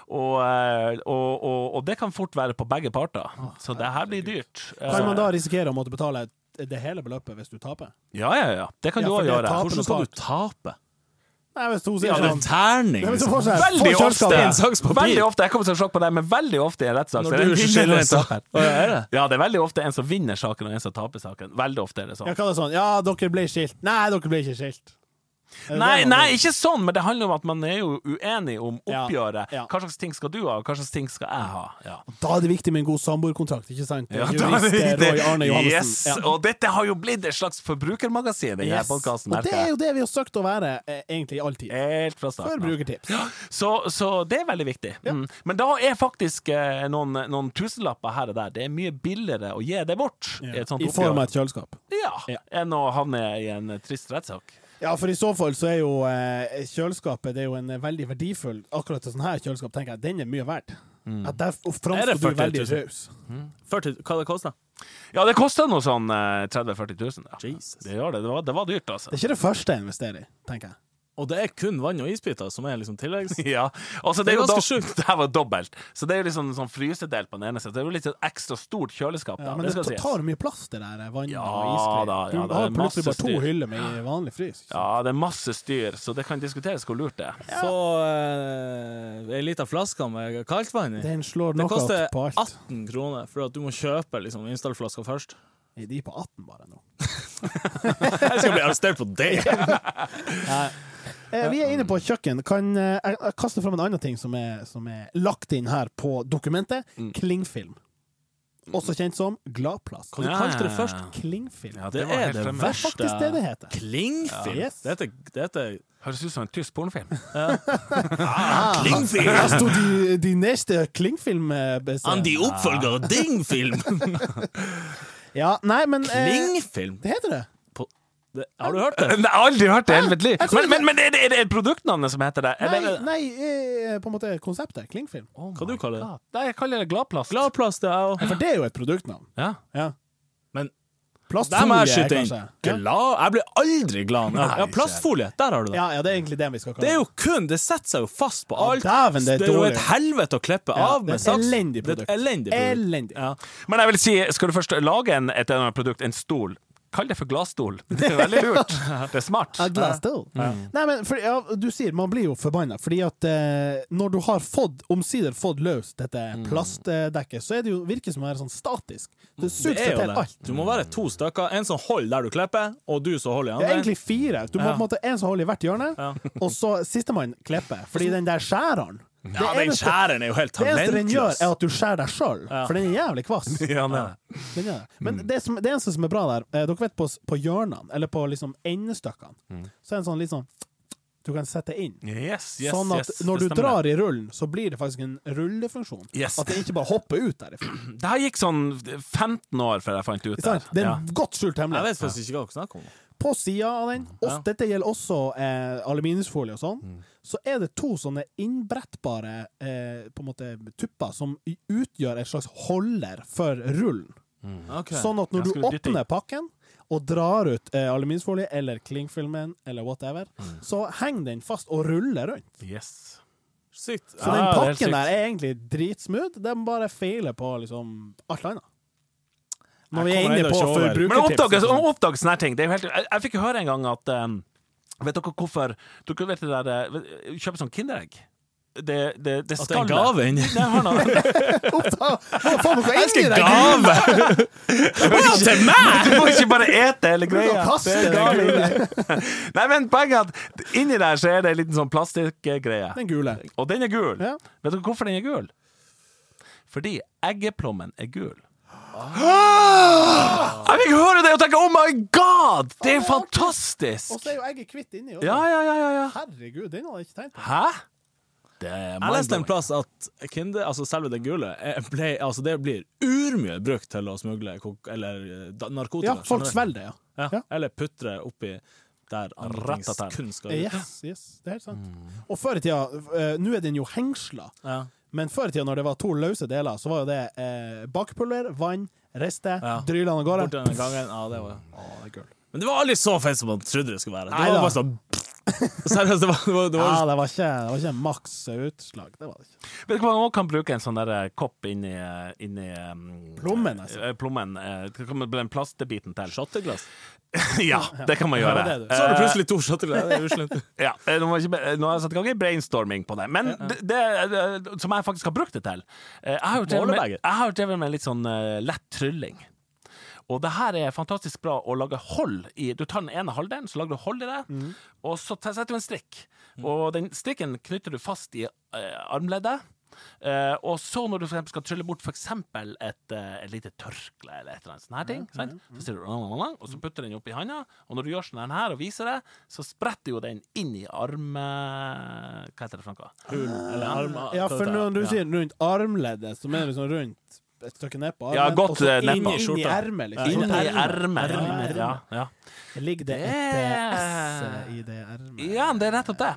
Og, eh, og, og, og det kan fort være på begge parter. Så det her blir dyrt. Eh,
Kan man da risikere å måtte betale det hele beløpet hvis du taper?
Ja, ja, ja. Det kan
Ja,
du
for
òg
det
gjøre.
taper
Hvordan skal du tape?
Nei, hvis hun sier
Ja, det er
sånn
Terning,
Nei, men så
liksom.
får seg-
Veldig
får
ofte,
kjøleskade.
Stein, saks, papir.
veldig ofte Jeg kommer til å sjokke på deg, men veldig ofte i en rettssak så
Når
er det
du
en vinner
skiller
og en
deg
taper.
Å, ja, er det?
Ja, det er veldig ofte en som vinner saken, og en som taper saken. Veldig ofte er det sånn.
Ja, hva er det sånn? Ja, dere ble skilt. Nei, dere ble ikke skilt. Er det
Nei,
det man
nei,
vil?
ikke sånn, men det handler om at man er jo uenig om
Ja,
oppgjøret.
ja.
Hva slags ting skal du ha, og hva slags ting skal jeg ha? Ja.
Da er det viktig med en god samboerkontrakt, ikke sant?
Ja, da er
Jurist
det
eh, Roy Arne
riktig.
Johannessen.
Yes,
Ja.
og dette har jo blitt et slags forbrukermagasin, denne
Yes.
podcasten,
Og det er
merker jeg.
jo det vi har søkt å være eh, egentlig i all tid.
Helt fra starten. av.
Forbrukertips.
Så, så det er veldig viktig. Mm. Men da er faktisk eh, noen, noen tusenlapper her og der Det er mye billigere å gi det bort i et sånt
I form
oppgjør
av et kjøleskap.
ja,
Ja.
enn å havne i en trist rettssak.
Ja, for i så fall så er jo eh, kjøleskapet Det er jo en eh, veldig verdifull Akkurat et sånt her kjøleskap tenker jeg den er mye verdt. At der f-
Er det
framstår du
40
veldig
000?
raus.
40, hva det koster
Ja, det kosta noe sånn eh, 30 000-40 000. Ja.
Jesus.
Det gjør det. Det var, det var dyrt, altså.
Det er ikke det første jeg investerer i, tenker jeg.
Og det er kun vann og isbiter som er liksom tilleggs...
(laughs) (laughs) Ja, altså det er
Det er
jo da,
ganske sjukt.
(laughs) Det her var dobbelt. Så det er jo liksom en sånn frysedel på den ene siden. Det er jo litt sånn ekstra stort kjøleskap. Da.
Ja, men det,
skal
tar-
sies.
tar mye plass, det der eh, vann
Ja,
og isgreier.
da, ja,
du
det er
har plutselig
masse
bare to
styr.
hyller med vanlig frys.
ja, det er masse styr, så det kan diskuteres hvor lurt det er.
Så eh, ei lita flaske med kaltvann i.
Den slår
Det
knockout
koster
på alt.
18 kroner, for at du må kjøpe liksom, installflaska først.
Er de på 18 bare nå?
Jeg skal bli arrestert på det!
Eh, vi er inne på kjøkken. Kan eh, jeg jeg kaster fram en annen ting som er, som er lagt inn her på dokumentet?
Mm.
Klingfilm. Også kjent som Gladplast.
Hva du
Ja.
kalte det først?
Klingfilm.
Ja,
Det
var
er
helt
det
Det
fremmed.
er
verste.
faktisk det det heter.
Klingfilm?
Ja. Yes.
Det heter, det heter
Høres ut som en tysk pornofilm.
Klingfilm!
Her sto Ah, altså, de, de neste Klingfilm eh, bes-
oppfølger av
(laughs)
Dingfilm!
Ja, nei, men eh,
Klingfilm?
Det heter det.
På, det, har du hørt det?
Nei, jeg har aldri hørt det i hele mitt liv.
Jeg tror
Men, men, men er, det, er det produktnavnet som heter det?
Nei,
Eller-
nei eh, på en måte konseptet. Klingfilm.
Oh
Hva
my
du kaller det?
God. Nei, jeg kaller det Gladplast.
Gladplast, det er jo
For det er jo et produktnavn.
Ja.
Ja.
Men
Plastfolie,
der må jeg skyte inn.
kanskje. Ja.
Glad? Jeg blir aldri glad. når- Ja, plastfolie. Der har du det.
Ja, ja, det er egentlig det vi skal kalle
Det er jo kun Det setter seg jo fast på alt.
dæven, det er
jo
dårlig.
et helvete å klippe
Ja, det
av
er
med
et
saks.
elendig
Det er
produkt.
et elendig produkt.
Elendig.
Ja.
Men jeg vil si, skal du først lage en, et eller annet produkt, en stol, kall det for glasstol. (laughs) Det er veldig lurt. Det er smart.
Ja, glass door. Nei, men for, ja, du sier man blir jo forbanna, fordi at eh, når du har fått, omsider fått løst dette plastdekket, så er det jo virker som å være sånn statisk. Det suger
Mm. Det er
seg
jo
til
det.
alt.
Du må være to stykker. En som holder der du klipper, og du som holder i
Det er
andre.
egentlig fire. Du må på en måte en som holder i hvert hjørne,
Ja.
og så sistemann klipper. Fordi den der skjæreren det,
Ja, den
eneste,
skjæren er jo helt
det eneste den gjør,
talentløs.
er at du skjærer deg sjøl, for den er jævlig kvass.
(laughs) Ja, nei.
Den gjør det. Men det, som, det eneste som er bra der, eh, dere vet på, s- på hjørnene, eller på liksom endestykkene,
Mm.
så er det en sånn litt sånn Du kan sette inn.
Yes, yes,
sånn at
yes,
når du
det stemmer.
drar i rullen, så blir det faktisk en rullefunksjon.
Yes.
At det ikke bare hopper ut derifra.
Det her gikk sånn 15 år før jeg fant ut
Ikke
det.
sant? Det er
Ja.
en godt skjult
Jeg
hemmelighet.
vet faktisk ikke hva dere snakker om.
På sida av den, og
Ja.
dette gjelder også eh, aluminiumsfolie og sånn, så er det to sånne innbrettbare eh, på en måte tupper som y- utgjør en slags holder for rullen. Sånn at
Jeg
når du
skulle dytte inn.
åpner pakken og drar ut eh, aluminiumsfolie eller klingfilmen eller whatever, så henger den fast og ruller rundt.
Yes.
Sykt.
Så den
Ja.
det er helt
pakken der
sykt.
er egentlig dritsmooth. De bare feiler på liksom alt annet. Når vi
Jeg
er inne
kommer ennå
på
ikke over.
forbrukertips.
Men oppdages,
liksom.
og sånn.
oppdages sånne her ting. Det er jo helt, jeg, jeg fikk jo høre en gang at um, Vet dere hvorfor Dere vet det der eh, Kjøper sånn Kinderegg. Det, det, det
At det er en
skallet.
gave
(laughs)
inn.
Nei, hør nå.
Å, (laughs) faen, hvorfor
Jeg
ender
skal
det der? (laughs)
gave! Til meg!
Du må ikke bare ete hele
Du
greia.
kan kaste
Det er
det
gale.
Sånn, gule.
Nei, men poenget er at inni der så er det en liten sånn plastikkgreie.
Den gule.
Og den er gul.
Ja.
Vet dere hvorfor den er gul? Fordi eggeplommen er gul. Jeg fikk høre det og tenke 'oh my god'! Det er jo
Og
fantastisk!
så er jo egget kvitt inni. også. sånn.
Ja, ja, ja, ja, ja.
Herregud, den hadde jeg ikke tenkt på.
Hæ? Det er
Jeg leste en
mind-blowing.
plass at kinder, altså selve det gule eh, ble, altså det blir urmye brukt til å smugle kok eller eh, da- narkotika.
Ja, folk
skjønner du?
svelger, ja.
Ja.
Ja.
Eller putre oppi der andre
Rett at
ting
der.
kun skal ut.
Eh, Yes, yes, det er helt sant.
Mm.
Og før i tida eh, Nå er den jo hengsla,
Ja.
men før i tida når det var to løse deler, så var jo det eh, bakpulver, vann, rister,
Ja.
dryler den av gårde.
Borti denne gangen. Ja, det var
Å, det er gull.
Men det var aldri så feil som man trodde det skulle være. Det
Neida.
var bare sånn Seriøst, det var, det var, det
Ja,
var
det var ikke, det var ikke maks utslag. Det var det ikke.
Vet du hva man også kan bruke en sånn der eh, kopp inni, eh, inni eh,
Plommen, altså.
eh, Plommen. eh, Det kan bli den plastbiten til.
Shotteglass.
(laughs) ja, det kan man
Ja,
gjøre.
det er det.
Så har du
Eh,
plutselig to shotteglass. Det er uslemt.
Ja, eh, nå, må jeg ikke, be- nå har jeg satt i gang en brainstorming på det. Men det, det, det som jeg faktisk har brukt det til eh, Jeg har jo drevet med,
Måleberget.
jeg har jo drevet med litt sånn eh, lett trylling. Og det her er fantastisk bra å lage hold i. Du tar den ene halvdelen, så lager du hold i det,
Mhm.
og så tar- setter du en strikk. Og den strikken knytter du fast i eh, armleddet. Eh, og så når du for eksempel skal trylle bort for eksempel et, eh, et lite tørkle eller et eller annet sånn her ting, sant? så sier du og så putter den opp i handa, og når du gjør sånn her og viser det, så spretter jo den inn i arm... Hva heter det for noe?
Hull eller arm.
Ja, for når du sier rundt armleddet, så mener du sånn rundt et stykke nedpå?
Ja,
armen,
godt,
og så
eh,
inn-
nedpå.
Inn i
Skjorta.
ermet, liksom.
Inn i ermet.
Ja,
Ja, ja, ja.
Det Ligger det et eh, S i det ermet?
ja, det er nettopp det.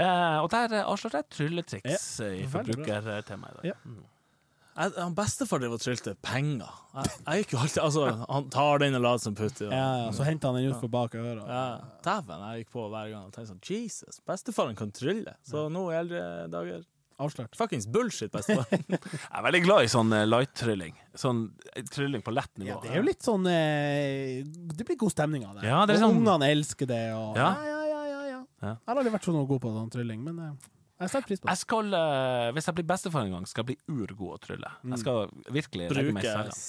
Eh, og der eh, avslørte jeg et trylletriks eh, i
veldig bra.
forbrukertemaet i
Ja.
dag. Mm.
Jeg, han bestefar drev og trylte penger. Jeg, jeg gikk jo alltid Altså, han tar den og later som putter.
Ja,
Ja.
ja, så henter han den ut for bak øret.
Ja, Dæven, jeg gikk på hver gang og tenkte sånn Jesus, bestefaren kan trylle. Så nå i eldre dager
Avslørt.
Fuckings bullshit,
(laughs)
bestefar.
Jeg er veldig glad i sånn eh, light-trylling. Sånn eh, trylling på lett nivå.
Ja, det er jo litt sånn eh, Det blir god stemning av det.
Ja, det er
og
sånn-
ungene elsker det. Og, ja.
Ja.
Ja, ja, ja, ja,
Ja.
Jeg har aldri vært så noe god på sånn trylling, men eh, jeg setter pris på det.
Jeg skal, eh, hvis jeg blir bestefar en gang, skal jeg bli urgod å trylle. Jeg skal virkelig legge meg i
Bruker
selen.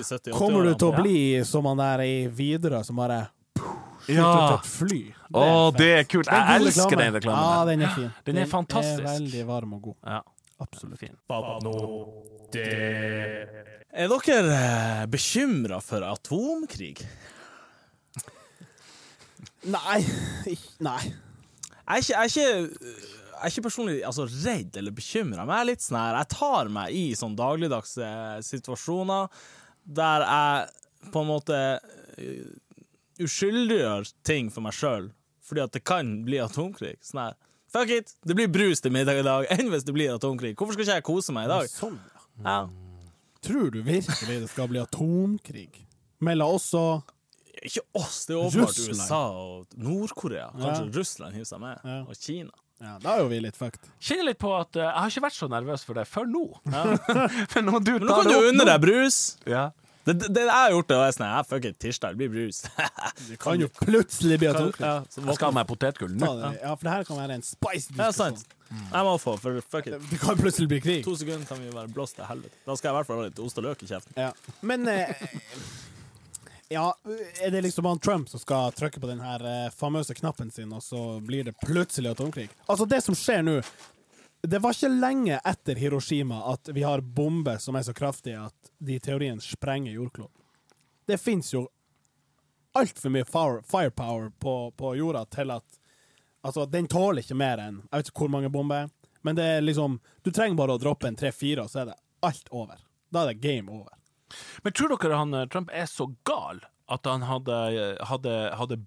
60, 70, 80
Kommer du til å
Ja.
bli som han der i Widerøe som bare
Ja!
slutter til å fly?
Å, det er kult!
Det er en
Jeg
god
elsker den
Ja,
reklamen.
den er fin.
Den er fantastisk.
veldig varm og god.
Ja,
Absolutt.
fin.
Er dere bekymra for atomkrig?
Nei. (laughs) Nei.
Jeg er ikke, jeg er ikke, jeg er ikke personlig altså, redd eller bekymra, men jeg er litt sånn her Jeg tar meg i sånn dagligdagse situasjoner der jeg på en måte eh, uskyldiggjør ting for meg sjøl, fordi at det kan bli atomkrig. Sånn her Fuck it! Det blir brus til middag i dag, (laughs) enn hvis det blir atomkrig. Hvorfor skal ikke jeg kose meg i dag?
Sånn, ja.
Ja.
Tror du virkelig det skal bli atomkrig? Mellom oss og
Ikke oss, det er åpenbart
Russland.
USA og Nord-Korea. Kanskje Russland hiver seg med,
Ja.
og Kina.
ja, Da er jo vi litt fucked.
Kjenner litt på at eh, jeg har ikke vært så nervøs for det før nå.
(laughs)
For når du
Men nå
tar
kan
det
du
opp
unne deg brus.
ja.
Det, det, det jeg har gjort, det var sånn her, Fuck it, tirsdag, det blir brus. (laughs)
Det kan jo plutselig bli atomkrig.
ja, så
Jeg skal ha meg potetgull nå.
Ta det. Ja, for det her kan være en spicy
Ja, sant.
diskusjon.
Jeg må få, for fuck it.
Det kan plutselig bli krig.
To sekunder kan vi bare blåse til helvete. Da skal jeg i hvert fall ha litt ost og løk i kjeften.
Ja. Men eh, Ja, er det liksom han Trump som skal trykke på den her eh, famøse knappen sin, og så blir det plutselig atomkrig? Altså, det som skjer nå Det var ikke lenge etter Hiroshima at vi har bomber som er så kraftige at de i teorien sprenger jordkloden. Det fins jo altfor mye fire- firepower på, på jorda til at Altså, den tåler ikke mer enn Jeg vet ikke hvor mange bomber, men det er liksom Du trenger bare å droppe en tre-fire, og så er det alt over. Da er det game over.
Men tror dere han eh, Trump er så gal at han hadde, eh, hadde, hadde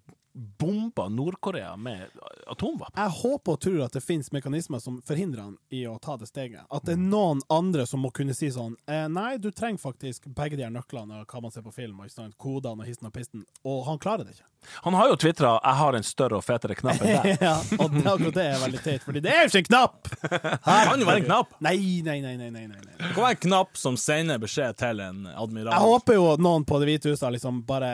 bomba Nord-Korea med atomvåpen?
Jeg håper og tror at det finnes mekanismer som forhindrer han i å ta det steget. At det er noen andre som må kunne si sånn eh, Nei, du trenger faktisk begge de her nøklene og hva man ser på film, og ikke sant, kodene og hissen og pisten. Og han klarer det ikke.
Han har jo tvitra 'jeg har en større og fetere knapp enn deg'.
(laughs) ja, og det, akkurat det er veldig teit, fordi det er jo ikke en knapp!
Det kan jo være en knapp.
Nei, nei, nei, nei, nei, nei. nei.
Det kan være en knapp som sender beskjed til en
Jeg
admiral.
håper jo at noen på Det hvite huset har liksom bare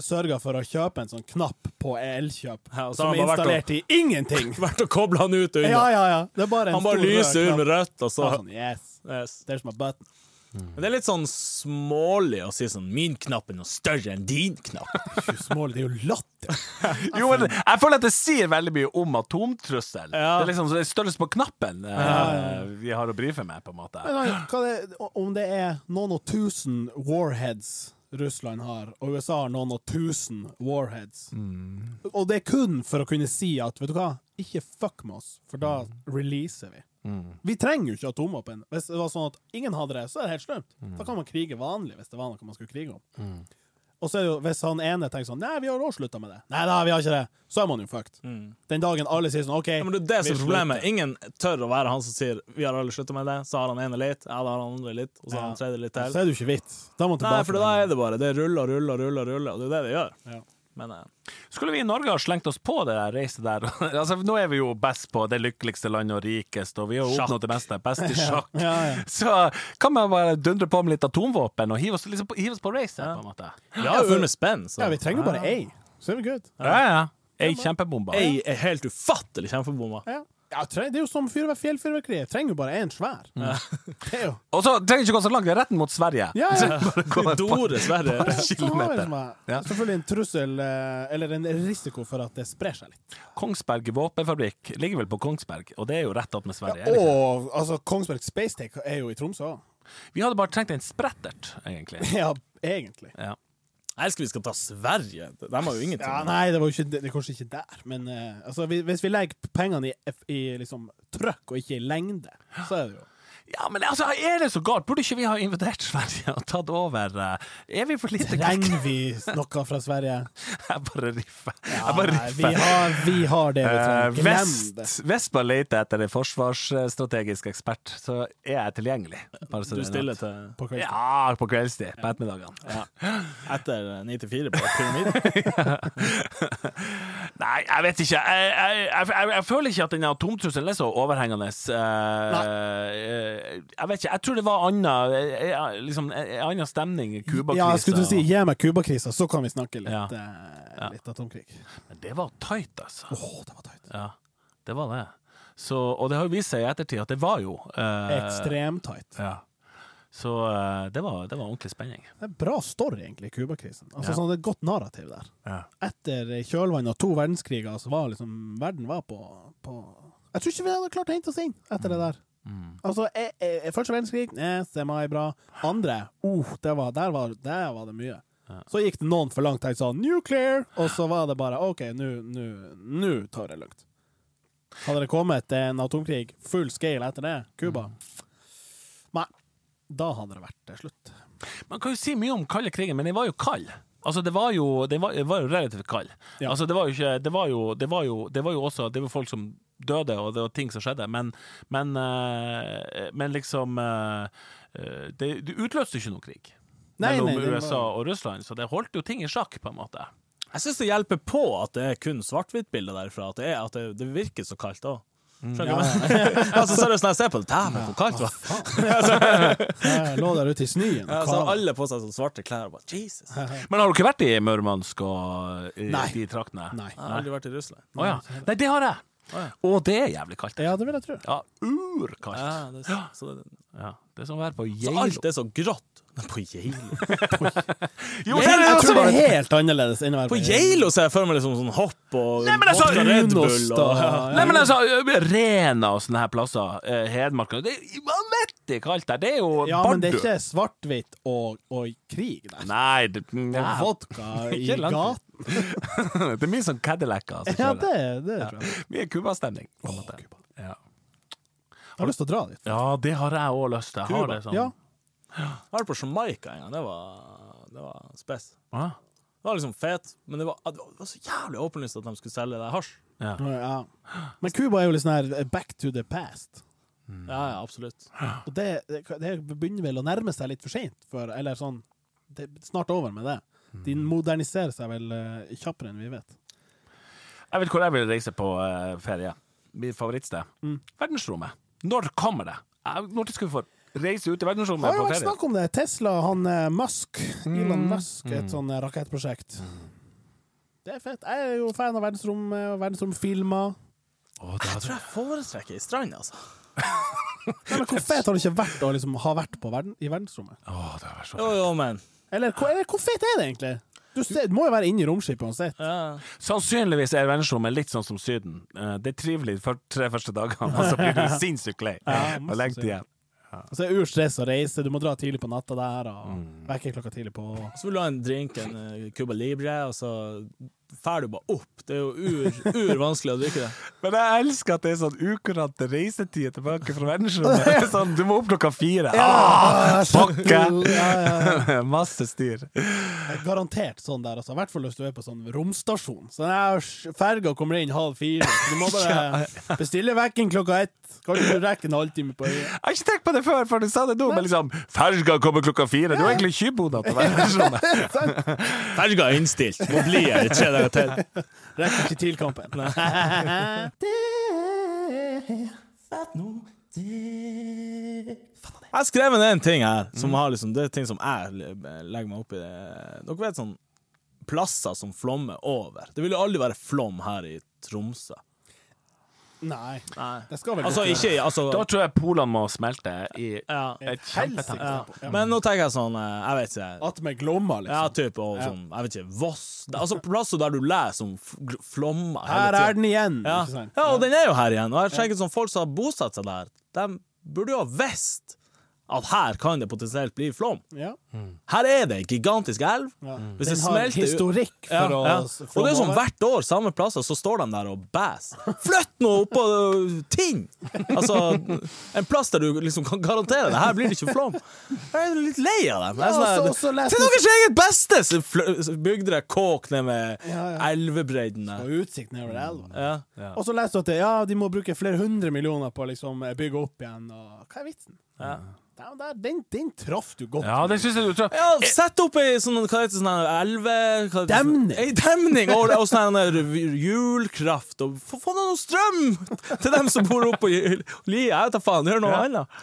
sørga for å kjøpe en sånn knapp på Elkjøp,
Ja, og så
som
har
er
han bare vært
installert i (laughs) ingenting!
Vært å koble han ut
Ja,
og under.
ja, ja. Det er bare en
Han bare
stor rød
lyser ut
knapp.
med rødt, og så
Ja, Sånn, yes.
yes.
There's my (laughs) button.
Men det er litt sånn smålig å si sånn Min knapp er noe større enn din knapp.
Ikke smålig, det er jo latter.
Jo,
Altså-
men jeg føler at det sier veldig mye om atomtrussel.
Ja.
Det er liksom så det er størrelsen på knappen eh, vi har å brife med, på en måte.
Men han, hva det, om det er noen og tusen warheads Russland har, og USA har noen og tusen warheads, og det er kun for å kunne si at vet du hva, ikke fuck med oss, for da releaser vi. Vi trenger jo ikke atomvåpen. Hvis det var sånn at ingen hadde det, så er det helt slumt. Da kan man krige vanlig, hvis det var noe man skulle krige om. Og så er det jo, hvis han ene tenker sånn Nei, vi har også slutta med det. Nei da, vi har ikke det. Så er man jo fucked. Den dagen alle sier sånn OK
Mm. Ja, men det er det som
vi
er problemet. Ingen tør å være han som sier 'vi har alle slutta med det', så har han ene litt, ja, da har han andre litt, og så har han tredje litt
slutter,
til.
så er det jo ikke vits. Da må man
Nei,
tilbake
for da er det bare Det ruller og ruller og ruller, og ruller, og det er det det gjør. eh,
Ja.
mener jeg.
Skulle vi i Norge ha slengt oss på det der reiset der? (laughs) altså, nå er vi jo best på det lykkeligste landet og rikest, og vi har jo
Sjakk.
oppnådd det meste. Best i sjakk.
(laughs) Ja, ja.
Så kan man bare dundre på med litt atomvåpen og hive oss, liksom, på- hive oss på reiset, på en måte.
Vi har jo vunnet spenn, så
Ja, vi trenger
Ah.
bare ei, så er vi good.
Ja, ja. Ei kjempebombe.
ei er helt ufattelig kjempebomba.
Ja. Ja, tre- det er jo som fyrver- fjellfyrverkeri. Jeg trenger jo bare én svær.
Mm. (laughs)
Det er jo
Og så trenger vi ikke gå så langt, vi er retten mot
Ja,
Sverige. (laughs)
ja.
Dore, Sverre.
Så har vi
Kilometer.
liksom,
Ja.
eh, Selvfølgelig en trussel, eh, eller en risiko for at det sprer seg litt.
Kongsberg våpenfabrikk ligger vel på Kongsberg, og det er jo rett opp med Sverige. er det ikke?
Og altså, Kongsberg Space Take er jo i Tromsø òg.
Vi hadde bare trengt en sprettert, egentlig.
(laughs) Ja, egentlig.
Ja.
Jeg elsker vi skal ta Sverige. De har jo ingenting.
Ja, nei, det var jo ikke, det er kanskje ikke der, men eh, altså, vi, hvis vi legger pengene i, f- i liksom, trøkk og ikke i lengde, så
(gasps)
er det jo
Ja, men altså, er det så galt? Burde ikke vi ha invitert Sverige og tatt over? eh, Er vi for lite
Trenger vi noe fra Sverige?
(laughs) Jeg bare riffer.
Ja,
(laughs) Jeg bare
nei, vi,
riffer.
har, vi har det vi
Eh,
trenger. Glem det.
Vest, Vestpå leter etter en forsvarsstrategisk ekspert, så er jeg tilgjengelig. Bare så
Du
det er
stiller
noe.
til
På kvelden.
Ja, på kveldstid. På ettermiddagene.
etter 94 på
(laughs)
pyramiden.
Nei, jeg vet ikke. Jeg, jeg, jeg, jeg, jeg føler ikke at den atomtrusselen er så overhengende. Eh, eh, jeg vet ikke. Jeg tror det var anna, eh, eh, liksom, eh, annen stemning i Cuba-krisa.
Ja, jeg skulle til å si gi meg Cuba-krisa, så kan vi snakke litt,
Ja.
eh, litt atomkrig.
Men det var tight, altså.
Åh, det var tøyt.
Ja, det var det. Så, og det har jo vist seg i ettertid at det var jo eh,
Ekstremt tight.
Ja. Så eh, det, var, det var ordentlig spenning.
Det er en bra story, egentlig, Cuba-krisen. Altså,
Ja.
sånn, det er et godt narrativ der.
Ja.
Etter kjølvannet av to verdenskriger, så var liksom verden var på, på Jeg tror ikke vi hadde klart å hente oss inn
Mm.
etter det der. Altså, eh, eh, første verdenskrig, eh, semi-bra. Andre, oh, det var, der, var, der var det mye. Så gikk det noen for langt, tenkte sånn nuclear, og så var det bare OK, nå- nå nå tar vi det langt. Hadde det kommet en atomkrig full scale etter det, Cuba
Mm.
Nei, da hadde det vært eh, slutt.
Man kan jo si mye om kalde krigen, men den var jo kald. Altså, det var jo, det var, det var jo relativt kald.
Ja.
Altså, det var jo ikke Det var jo, det var jo, det var jo også Det var folk som døde, og det var ting som skjedde, men Men, eh, men liksom eh, eh, det, det utløste ikke noe krig
Nei,
mellom
nei, det var-
USA og Russland, så det holdt jo ting i sjakk, på en måte.
Jeg syns det hjelper på at det er kun svart-hvitt-bilder derfra. At det, er, at det, det virker så kaldt òg.
Mm. Ja,
altså, seriøst, når jeg ser på det, dæven, hvor kaldt det var.
(laughs) Jeg lå der ute i snøen. og
Ja,
altså,
så har
kava.
alle på seg sånn svarte klær. Og bare, Jesus. Jeg
Men har du ikke vært i Murmansk og i
Nei.
de traktene?
Nei.
har aldri vært i Russland.
Å ja. Nei, det har jeg! Og det er jævlig kaldt.
Ja, det vil jeg tro.
Ja, urkaldt.
Ja, det, er så- så, det,
Ja, det er som å være på
så
Geilo.
alt er så grått. På Geilo
Jeg,
Jo, det er
tror
også-
det er helt annerledes enn å være
(laughs) På Geilo ser jeg for meg liksom sånn hopp og
Nei, men jeg sa
vodka Red
Runost
Bull. Og,
og-
Nei, men altså, Rena og sånne her plasser, eh, Hedmark Det er vanvittig kaldt der! Det er jo
Ja, men det er
Bardu.
ikke svart-hvitt og, og krig, nei.
Nei, det,
Det er
nei.
vodka i
(laughs) Ikke langt.
gaten.
(laughs) det er mye sånn Cadillac-er. som
(laughs) Ja,
kjører.
det, det tror jeg.
Mye Cuba-stemning. på en måte.
Cuba.
Ja.
Jeg har lyst til å dra dit.
ja, det har jeg òg lyst til. Jeg har
Cuba.
det sånn.
Ja.
jeg var på Jamaica en gang. Det var, det var spes.
Ah,
Det var liksom fet, men det var, det var- det var så jævlig åpenlyst at de skulle selge deg hasj.
ja.
ja. Men Cuba er jo litt sånn her eh, back to the past.
Ja, ja, absolutt.
Og det, det, det begynner vel å nærme seg litt for seint, for Eller sånn Det er snart over med det. De
Mm.
moderniserer seg vel eh, kjappere enn vi vet.
Jeg vet hvor jeg vil reise på eh, ferie. Mitt favorittsted.
Mm.
Verdensrommet. Når kommer det? Eh, Når skal vi få reise ut i
Det har
verdensrommet
jo
på
vært
ferie? Mm.
snakk om det. Tesla, han eh, Musk, Elon Musk, et sånn eh, rakettprosjekt. Det er fett. Jeg er jo fan av verdensrom eh, og verdensromfilmer.
Å, det
Jeg
hadde...
tror jeg foretrekker ei strand, altså.
Nei, Men hvor fett har det ikke vært å liksom ha vært på verden, i verdensrommet?
Å, det hadde vært så
Jo, jo, men
Eller hvor, eller hvor fett er det egentlig? Du, ser, du må jo være inne i romskipet uansett.
ja.
Sannsynligvis er verdensrommet litt sånn som Syden. Eh, Det er trivelig de fyr- tre første dagene, (laughs) og så blir du sinnssykt
(laughs)
lei.
Ja,
Og lenge til igjen.
Så er Altså, det urstress å reise, du må dra tidlig på Mm. natta der, og vekke klokka tidlig på
Så vil du ha en drink, en eh, Cuba Libre, og så fær du bare opp. Det er jo ur, ur vanskelig å drikke det.
Men jeg elsker at det er sånn ukurante reisetider tilbake fra
(laughs)
verdensrommet. Sånn, du må opp klokka fire.
Ah,
Pakke!
Ja, ja, ja.
(laughs) Masse styr.
Det er Garantert sånn der, altså. I hvert fall hvis du er på sånn romstasjon. Så den her ferga kommer inn halv fire. så Du må (laughs) bare bestille vekken klokka ett. Kanskje du rekker en halvtime på øyet. (laughs)
Jeg har ikke tenkt på det før, før du sa det nå, men liksom Ferga kommer klokka fire. Du er egentlig tjuvbonde til verdensrommet.
Ferga er innstilt. Må bli her i tre dager til.
Rekker ikke til kampen.
Jeg har skrevet ned en ting her, som har liksom, det er ting som jeg le- legger meg opp i. Dere vet sånn plasser som flommer over. Det vil jo aldri være flom her i Tromsø.
(laughs) Nei. Det skal vel
Altså
gå til.
ikke altså,
(laughs) Da tror jeg Polen må smelte i
ja,
et kjempetempo.
Ja.
Men nå tenker jeg sånn eh, Jeg vet ikke.
At med glomma,
Ja,
liksom.
typ, og sånn, jeg vet ikke, Voss Det er Altså plasser der du leser om f- gl- flommer hele
Her er
tiden.
den igjen,
Ja.
ikke sant?
ja, og den er jo her igjen. Og jeg tenker sånn, folk som har bosatt seg der, de burde jo ha visst at her kan det potensielt bli flom.
Ja.
Her er det ei gigantisk elv.
Ja.
Hvis
Den
det
har
smelter ut-
historikk for å
Ja, ja.
for
Og det er
å
sånn
måle.
hvert år, samme plasser, så står de der og bæs. Flytt nå opp på ø, ting! Altså, en plass der du liksom kan garantere det. Her blir det ikke flom. Jeg er litt lei av dem. Jeg er
Ja,
sånn
og
der,
så- og så leser
Til
du-
deres eget beste! Så flø- så bygde dere kåk ned med
Ja, ja.
elvebredden der.
Og utsikt nedover elva.
Ja.
Og så leser du at det, Mm, ja, de må bruke flere hundre millioner på å liksom, bygge opp igjen. Og, hva er vitsen? Ja, men der- Den, den traff du godt.
Ja, det syns jeg du tror.
Ja, sett opp ei sånn hva heter det, sånn her elve... hva heter det, sånn-
Demning.
Ei demning og, og sånn her hjulkraft. Og få, få noe strøm til dem som bor oppe på hjul- lia. Jeg vet da faen, gjør noe annet.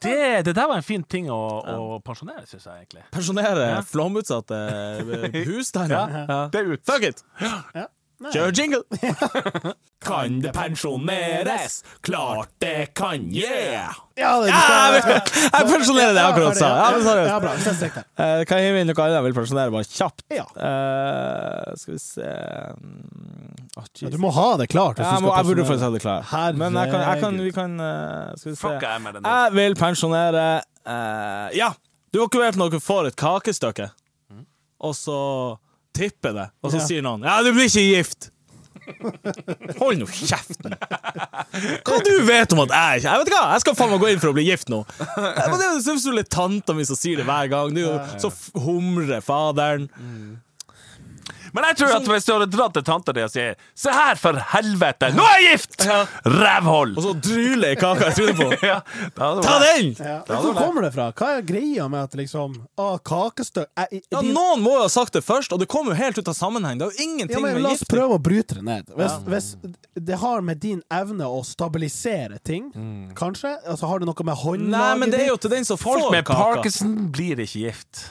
Det, det der var en fin ting å, å pensjonere, syns jeg egentlig.
pensjonere flomutsatte eh, husstander. Ja.
Det er ut.
Fuck it!
Nei.
Kjør jingle!
Kan det pensjoneres? Klart det kan, yeah!
Ja, det,
Jeg pensjonerer det jeg akkurat sa. Ja, men
Ja,
seriøst.
bra. Vi ses direkte.
Eh, Kan jeg hive inn noe annet jeg vil pensjonere, bare kjapt?
Ja.
Eh, skal vi se Mm, Å,
Ja,
jeez.
du må ha det klart. hvis du
jeg, må,
skal
jeg burde
personere.
faktisk ha det klart. Men jeg kan, jeg kan, vi kan eh, Skal vi se.
Fuck, jeg er med den nå.
Jeg vil pensjonere eh, Ja! Du har ikke vært når dere får et kakestykke, og så tipper det, og så
Mm. Ja.
sier noen 'Ja, du blir ikke gift'.
(laughs)
Hold nå kjeften! Hva du vet om at jeg ikke Jeg vet hva, jeg skal faen meg gå inn for å bli gift
(laughs)
nå! Eh, Men det er jo selvfølgelig tanta mi som sier det hver gang. Det er jo så f- humrer faderen.
Men jeg tror at hvis du hadde dratt til tanta di og sier 'Se her, for helvete, nå er jeg gift!' Rævhold!
Og så dryler jeg kaka i trynet på henne.
(laughs) Ja, da hadde det
Ta
vært-
den!
Ja. Men Hvor kommer det fra? Hva er greia med at liksom ah, kakestø... Eh, i-
Ja,
de-
Noen må jo ha sagt det først, og det kommer jo helt ut av sammenheng. Det er jo ingenting
ja, men
med
La oss
gift
prøve å bryte det ned. Hvis, hvis det har med din evne å stabilisere ting, kanskje? Altså, har det noe med håndlaget
Mm. Nei, men det er jo
ditt?
til den som
Folk
får
med
kaka.
Parkinson blir ikke gift.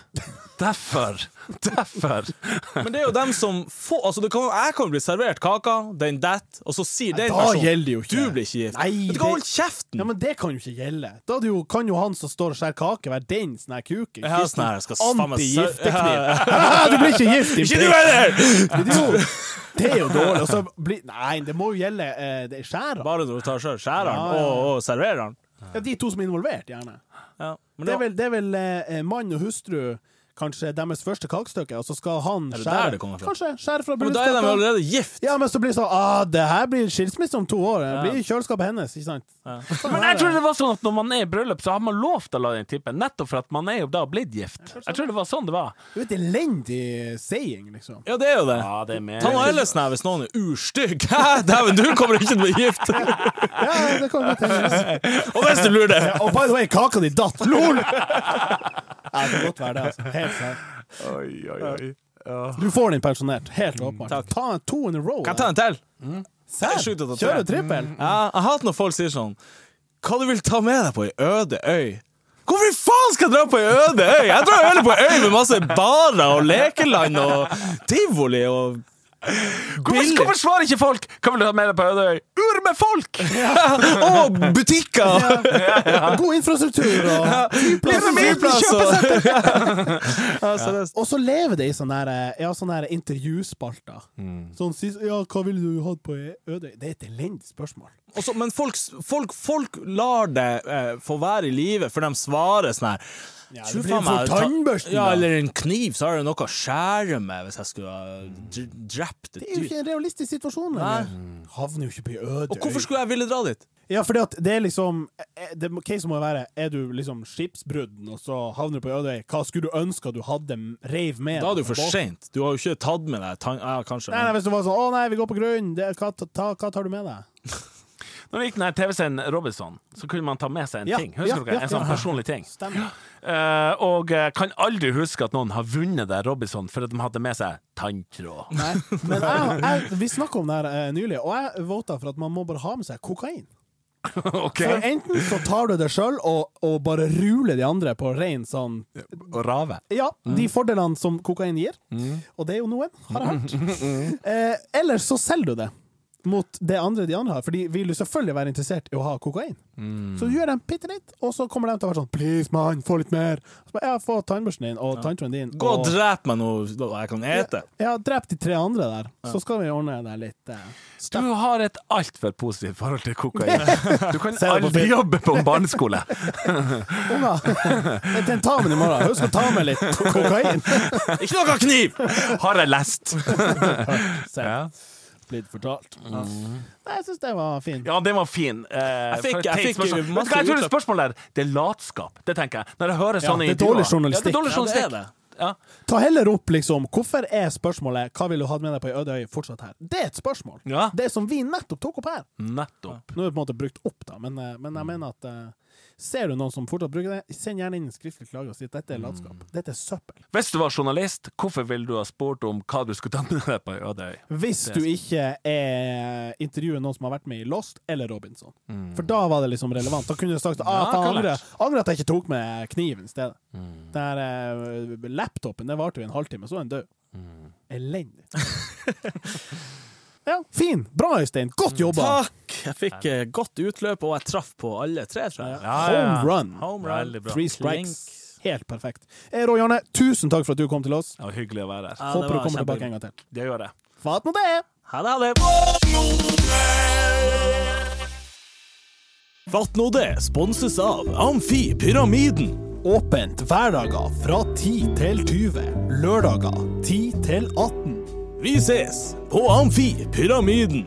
Derfor. Derfor.
Men det er jo dem som får Altså, det kan, jeg kan jo bli servert kaka, den detter, og så sier den
da gjelder det jo ikke.
Du blir ikke gift.
Nei,
Vet du
det-
hva, hold kjeften!
Ja, men det kan jo ikke gjelde. Da er det jo, kan jo han som står og skjærer kake, være den sånn her kuken.
Ja, sånn her, jeg skal faen meg sau- (laughs)
Antigiftekniv. (laughs) du blir ikke gift, din
Ikke du heller!
idiot! Det er jo dårlig. Og så blir Nei, det må jo gjelde eh, det er skjæra.
Bare når du tar sjøl skjæreren
Ja, ja.
og, og servereren.
Ja, de to som er involvert, gjerne.
Ja. Men
Det er
det,
vel, det er vel eh, mann og hustru Kanskje deres første kakestykke, og så skal han
Er det der
skjære
det kommer fra?
Kanskje skjære fra
men da er de jo
brudskaka.
allerede gift.
Ja, men så blir det sånn ah, Det her blir skilsmisse om to år. Det blir i kjøleskapet hennes, ikke sant? Sånn
Men
er
jeg
det.
tror det var sånn at når man er i bryllup, så har man lov til å la den tippe, nettopp for at man er jo da blitt gift. Jeg tror det var sånn det var.
Det er jo et elendig saying, liksom.
Ja, det er jo det.
Ja, det er mer
Ta nå Ellesen her hvis noen er urstygg. (laughs) Hæ, Dæven, du kommer ikke til å bli gift!
Ja, det kan godt hende.
Og hvis du lurer det
Ja, Og by the way, kaka di datt! LOL! Ja, det kan godt være det, altså. Helt sant.
Oi, oi, oi.
Du får den pensjonert. Helt åpenbart. Ta en to in a row.
Kan jeg ta en til?
Mm. Sær.
Sju til å ta
Kjør
tre.
en
(laughs)
trippel.
Ja, jeg hater når folk sier sånn Hva du vil ta med deg på ei øde øy? Hvorfor i faen skal jeg dra på ei øde øy? Jeg drar heller på ei øy med masse barer og lekeland og tivoli og
Hvorfor, hvorfor svarer ikke folk? Hva vil du ha med deg på Ødøy? Ur med folk!
Og butikker!
God infrastruktur og flyplass.
Livet mitt, kjøpesenter! (laughs) Ja, seriøst.
Og så lever det i sånne, her, ja, sånne her intervjuspalter. Sånn sist, ja, 'Hva ville du hatt på ei øde øy?' Det er et elendig spørsmål.
Og så- men folk, folk, folk lar det eh, få være i live, for de svarer sånn her Ja,
det blir for tannbørsten,
Ja,
da.
eller en kniv, så har jeg noe å skjære med hvis jeg skulle ha dr- drept et
Det er jo
dyr.
ikke en realistisk situasjon.
Nei.
eller? Mm. Havner jo ikke på ei øde
Og hvorfor
øy.
skulle jeg ville dra dit?
Ja, fordi at det er liksom eh, det, må- Case må jo være Er du liksom skipsbrudden, og så havner du på ei øde øy? Hva skulle du ønske at du hadde m- reiv med?
Da er det
deg
jo for
på båten?
seint. Du har jo ikke tatt med deg tann... Ja, kanskje.
Nei, nei,
Men
hvis du var sånn 'Å nei, vi går på grunn', det, hva, ta, ta, hva tar du med deg?
Når det gikk den her TV-serien Robinson, så kunne man ta med seg en
Ja,
ting. Husker
ja,
dere?
ja,
En sånn
ja.
personlig ting.
Stemmer.
Eh, og eh, kan aldri huske at noen har vunnet der Robinson for at de hadde med seg
(laughs)
tanntråd.
Nei. Men jeg, jeg, vi snakka om det her eh, nylig, og jeg vota for at man må bare ha med seg kokain.
OK?
For enten så tar du det sjøl og, og bare ruler de andre på rein sånn
Og rave.
Ja, de fordelene som kokain gir, og det er jo noen, har jeg hørt. Eh, ellers så selger du det mot det andre de andre har, for de vil jo selvfølgelig være interessert i å ha kokain. Så du gjør dem bitte litt, og så kommer de til å være sånn 'Please, mann, få litt mer'. Så bare, ja, få tannbørsten din og tanntråden din.
Gå og
og
drep meg noe jeg kan ete.
ja, drep de tre andre der, så skal vi ordne deg litt. Eh.
Du har et altfor positivt forhold til kokain. Du kan
det på
aldri
film.
jobbe på en (laughs) barneskole.
(laughs) Unger, et tentamen i morgen. Husk å ta med litt kokain.
Ikke noe kniv!
Har jeg lest?
Så
Ja,
blitt fortalt. Ja. Nei, jeg syns det var fint.
ja den var fin. Eh,
Jeg fikk-
for et
jeg
teit
fikk
spørsmål. Vet du
masse
hva, jeg tror
utløp.
det spørsmålet er Det er latskap, det tenker jeg. Når jeg hører
Ja,
sånne
det er dårlig
intervjuer. Ja,
journalistikk.
det er dårlig
Ja, det er
journalistikk.
det.
Ja.
Ta heller opp liksom Hvorfor er spørsmålet 'Hva ville du hatt med deg på ei øde øy?' fortsatt her. Det er et spørsmål.
Ja.
Det som vi nettopp tok opp her.
Nettopp.
Nå er det på en måte brukt opp, da, men, eh, men jeg
Mm.
mener at eh, Ser du noen som fortsatt bruker det, send gjerne inn en skriftlig klage og si at dette
Mm.
er latskap. Dette er søppel.
Hvis du var journalist, hvorfor ville du ha spurt om hva du skulle ta med deg på ei øde øy?
Hvis du ikke er intervjuer noen som har vært med i Lost eller Robinson. For da var det liksom relevant. Da kunne du sagt ah,
Mm. Ja,
faen,
klart.
angrer, angrer at jeg ikke tok med kniv i stedet.
Mm,
Den her, eh, laptopen det varte jo i en halvtime, så var den død.
mm.
(laughs)
Elendig. ja, fin. Bra, Øystein. Godt jobba.
Takk! Jeg fikk eh, godt utløp, og jeg traff på alle tre, tror jeg.
Home run.
Home run.
Veldig bra.
Three strikes. Helt perfekt. Eh, Roy Arne, tusen takk for at du kom til oss.
Det var hyggelig å være her.
Ja, det
Håper du
var
kommer tilbake
kjempegøy.
en gang til.
Det gjør jeg.
Fatt nå det!
Ha det, ha det. Fatt nå det sponses av Amfi Pyramiden.
Åpent hverdager fra 10 til 20. Lørdager 10 til 18.
Vi ses på Amfi Pyramiden.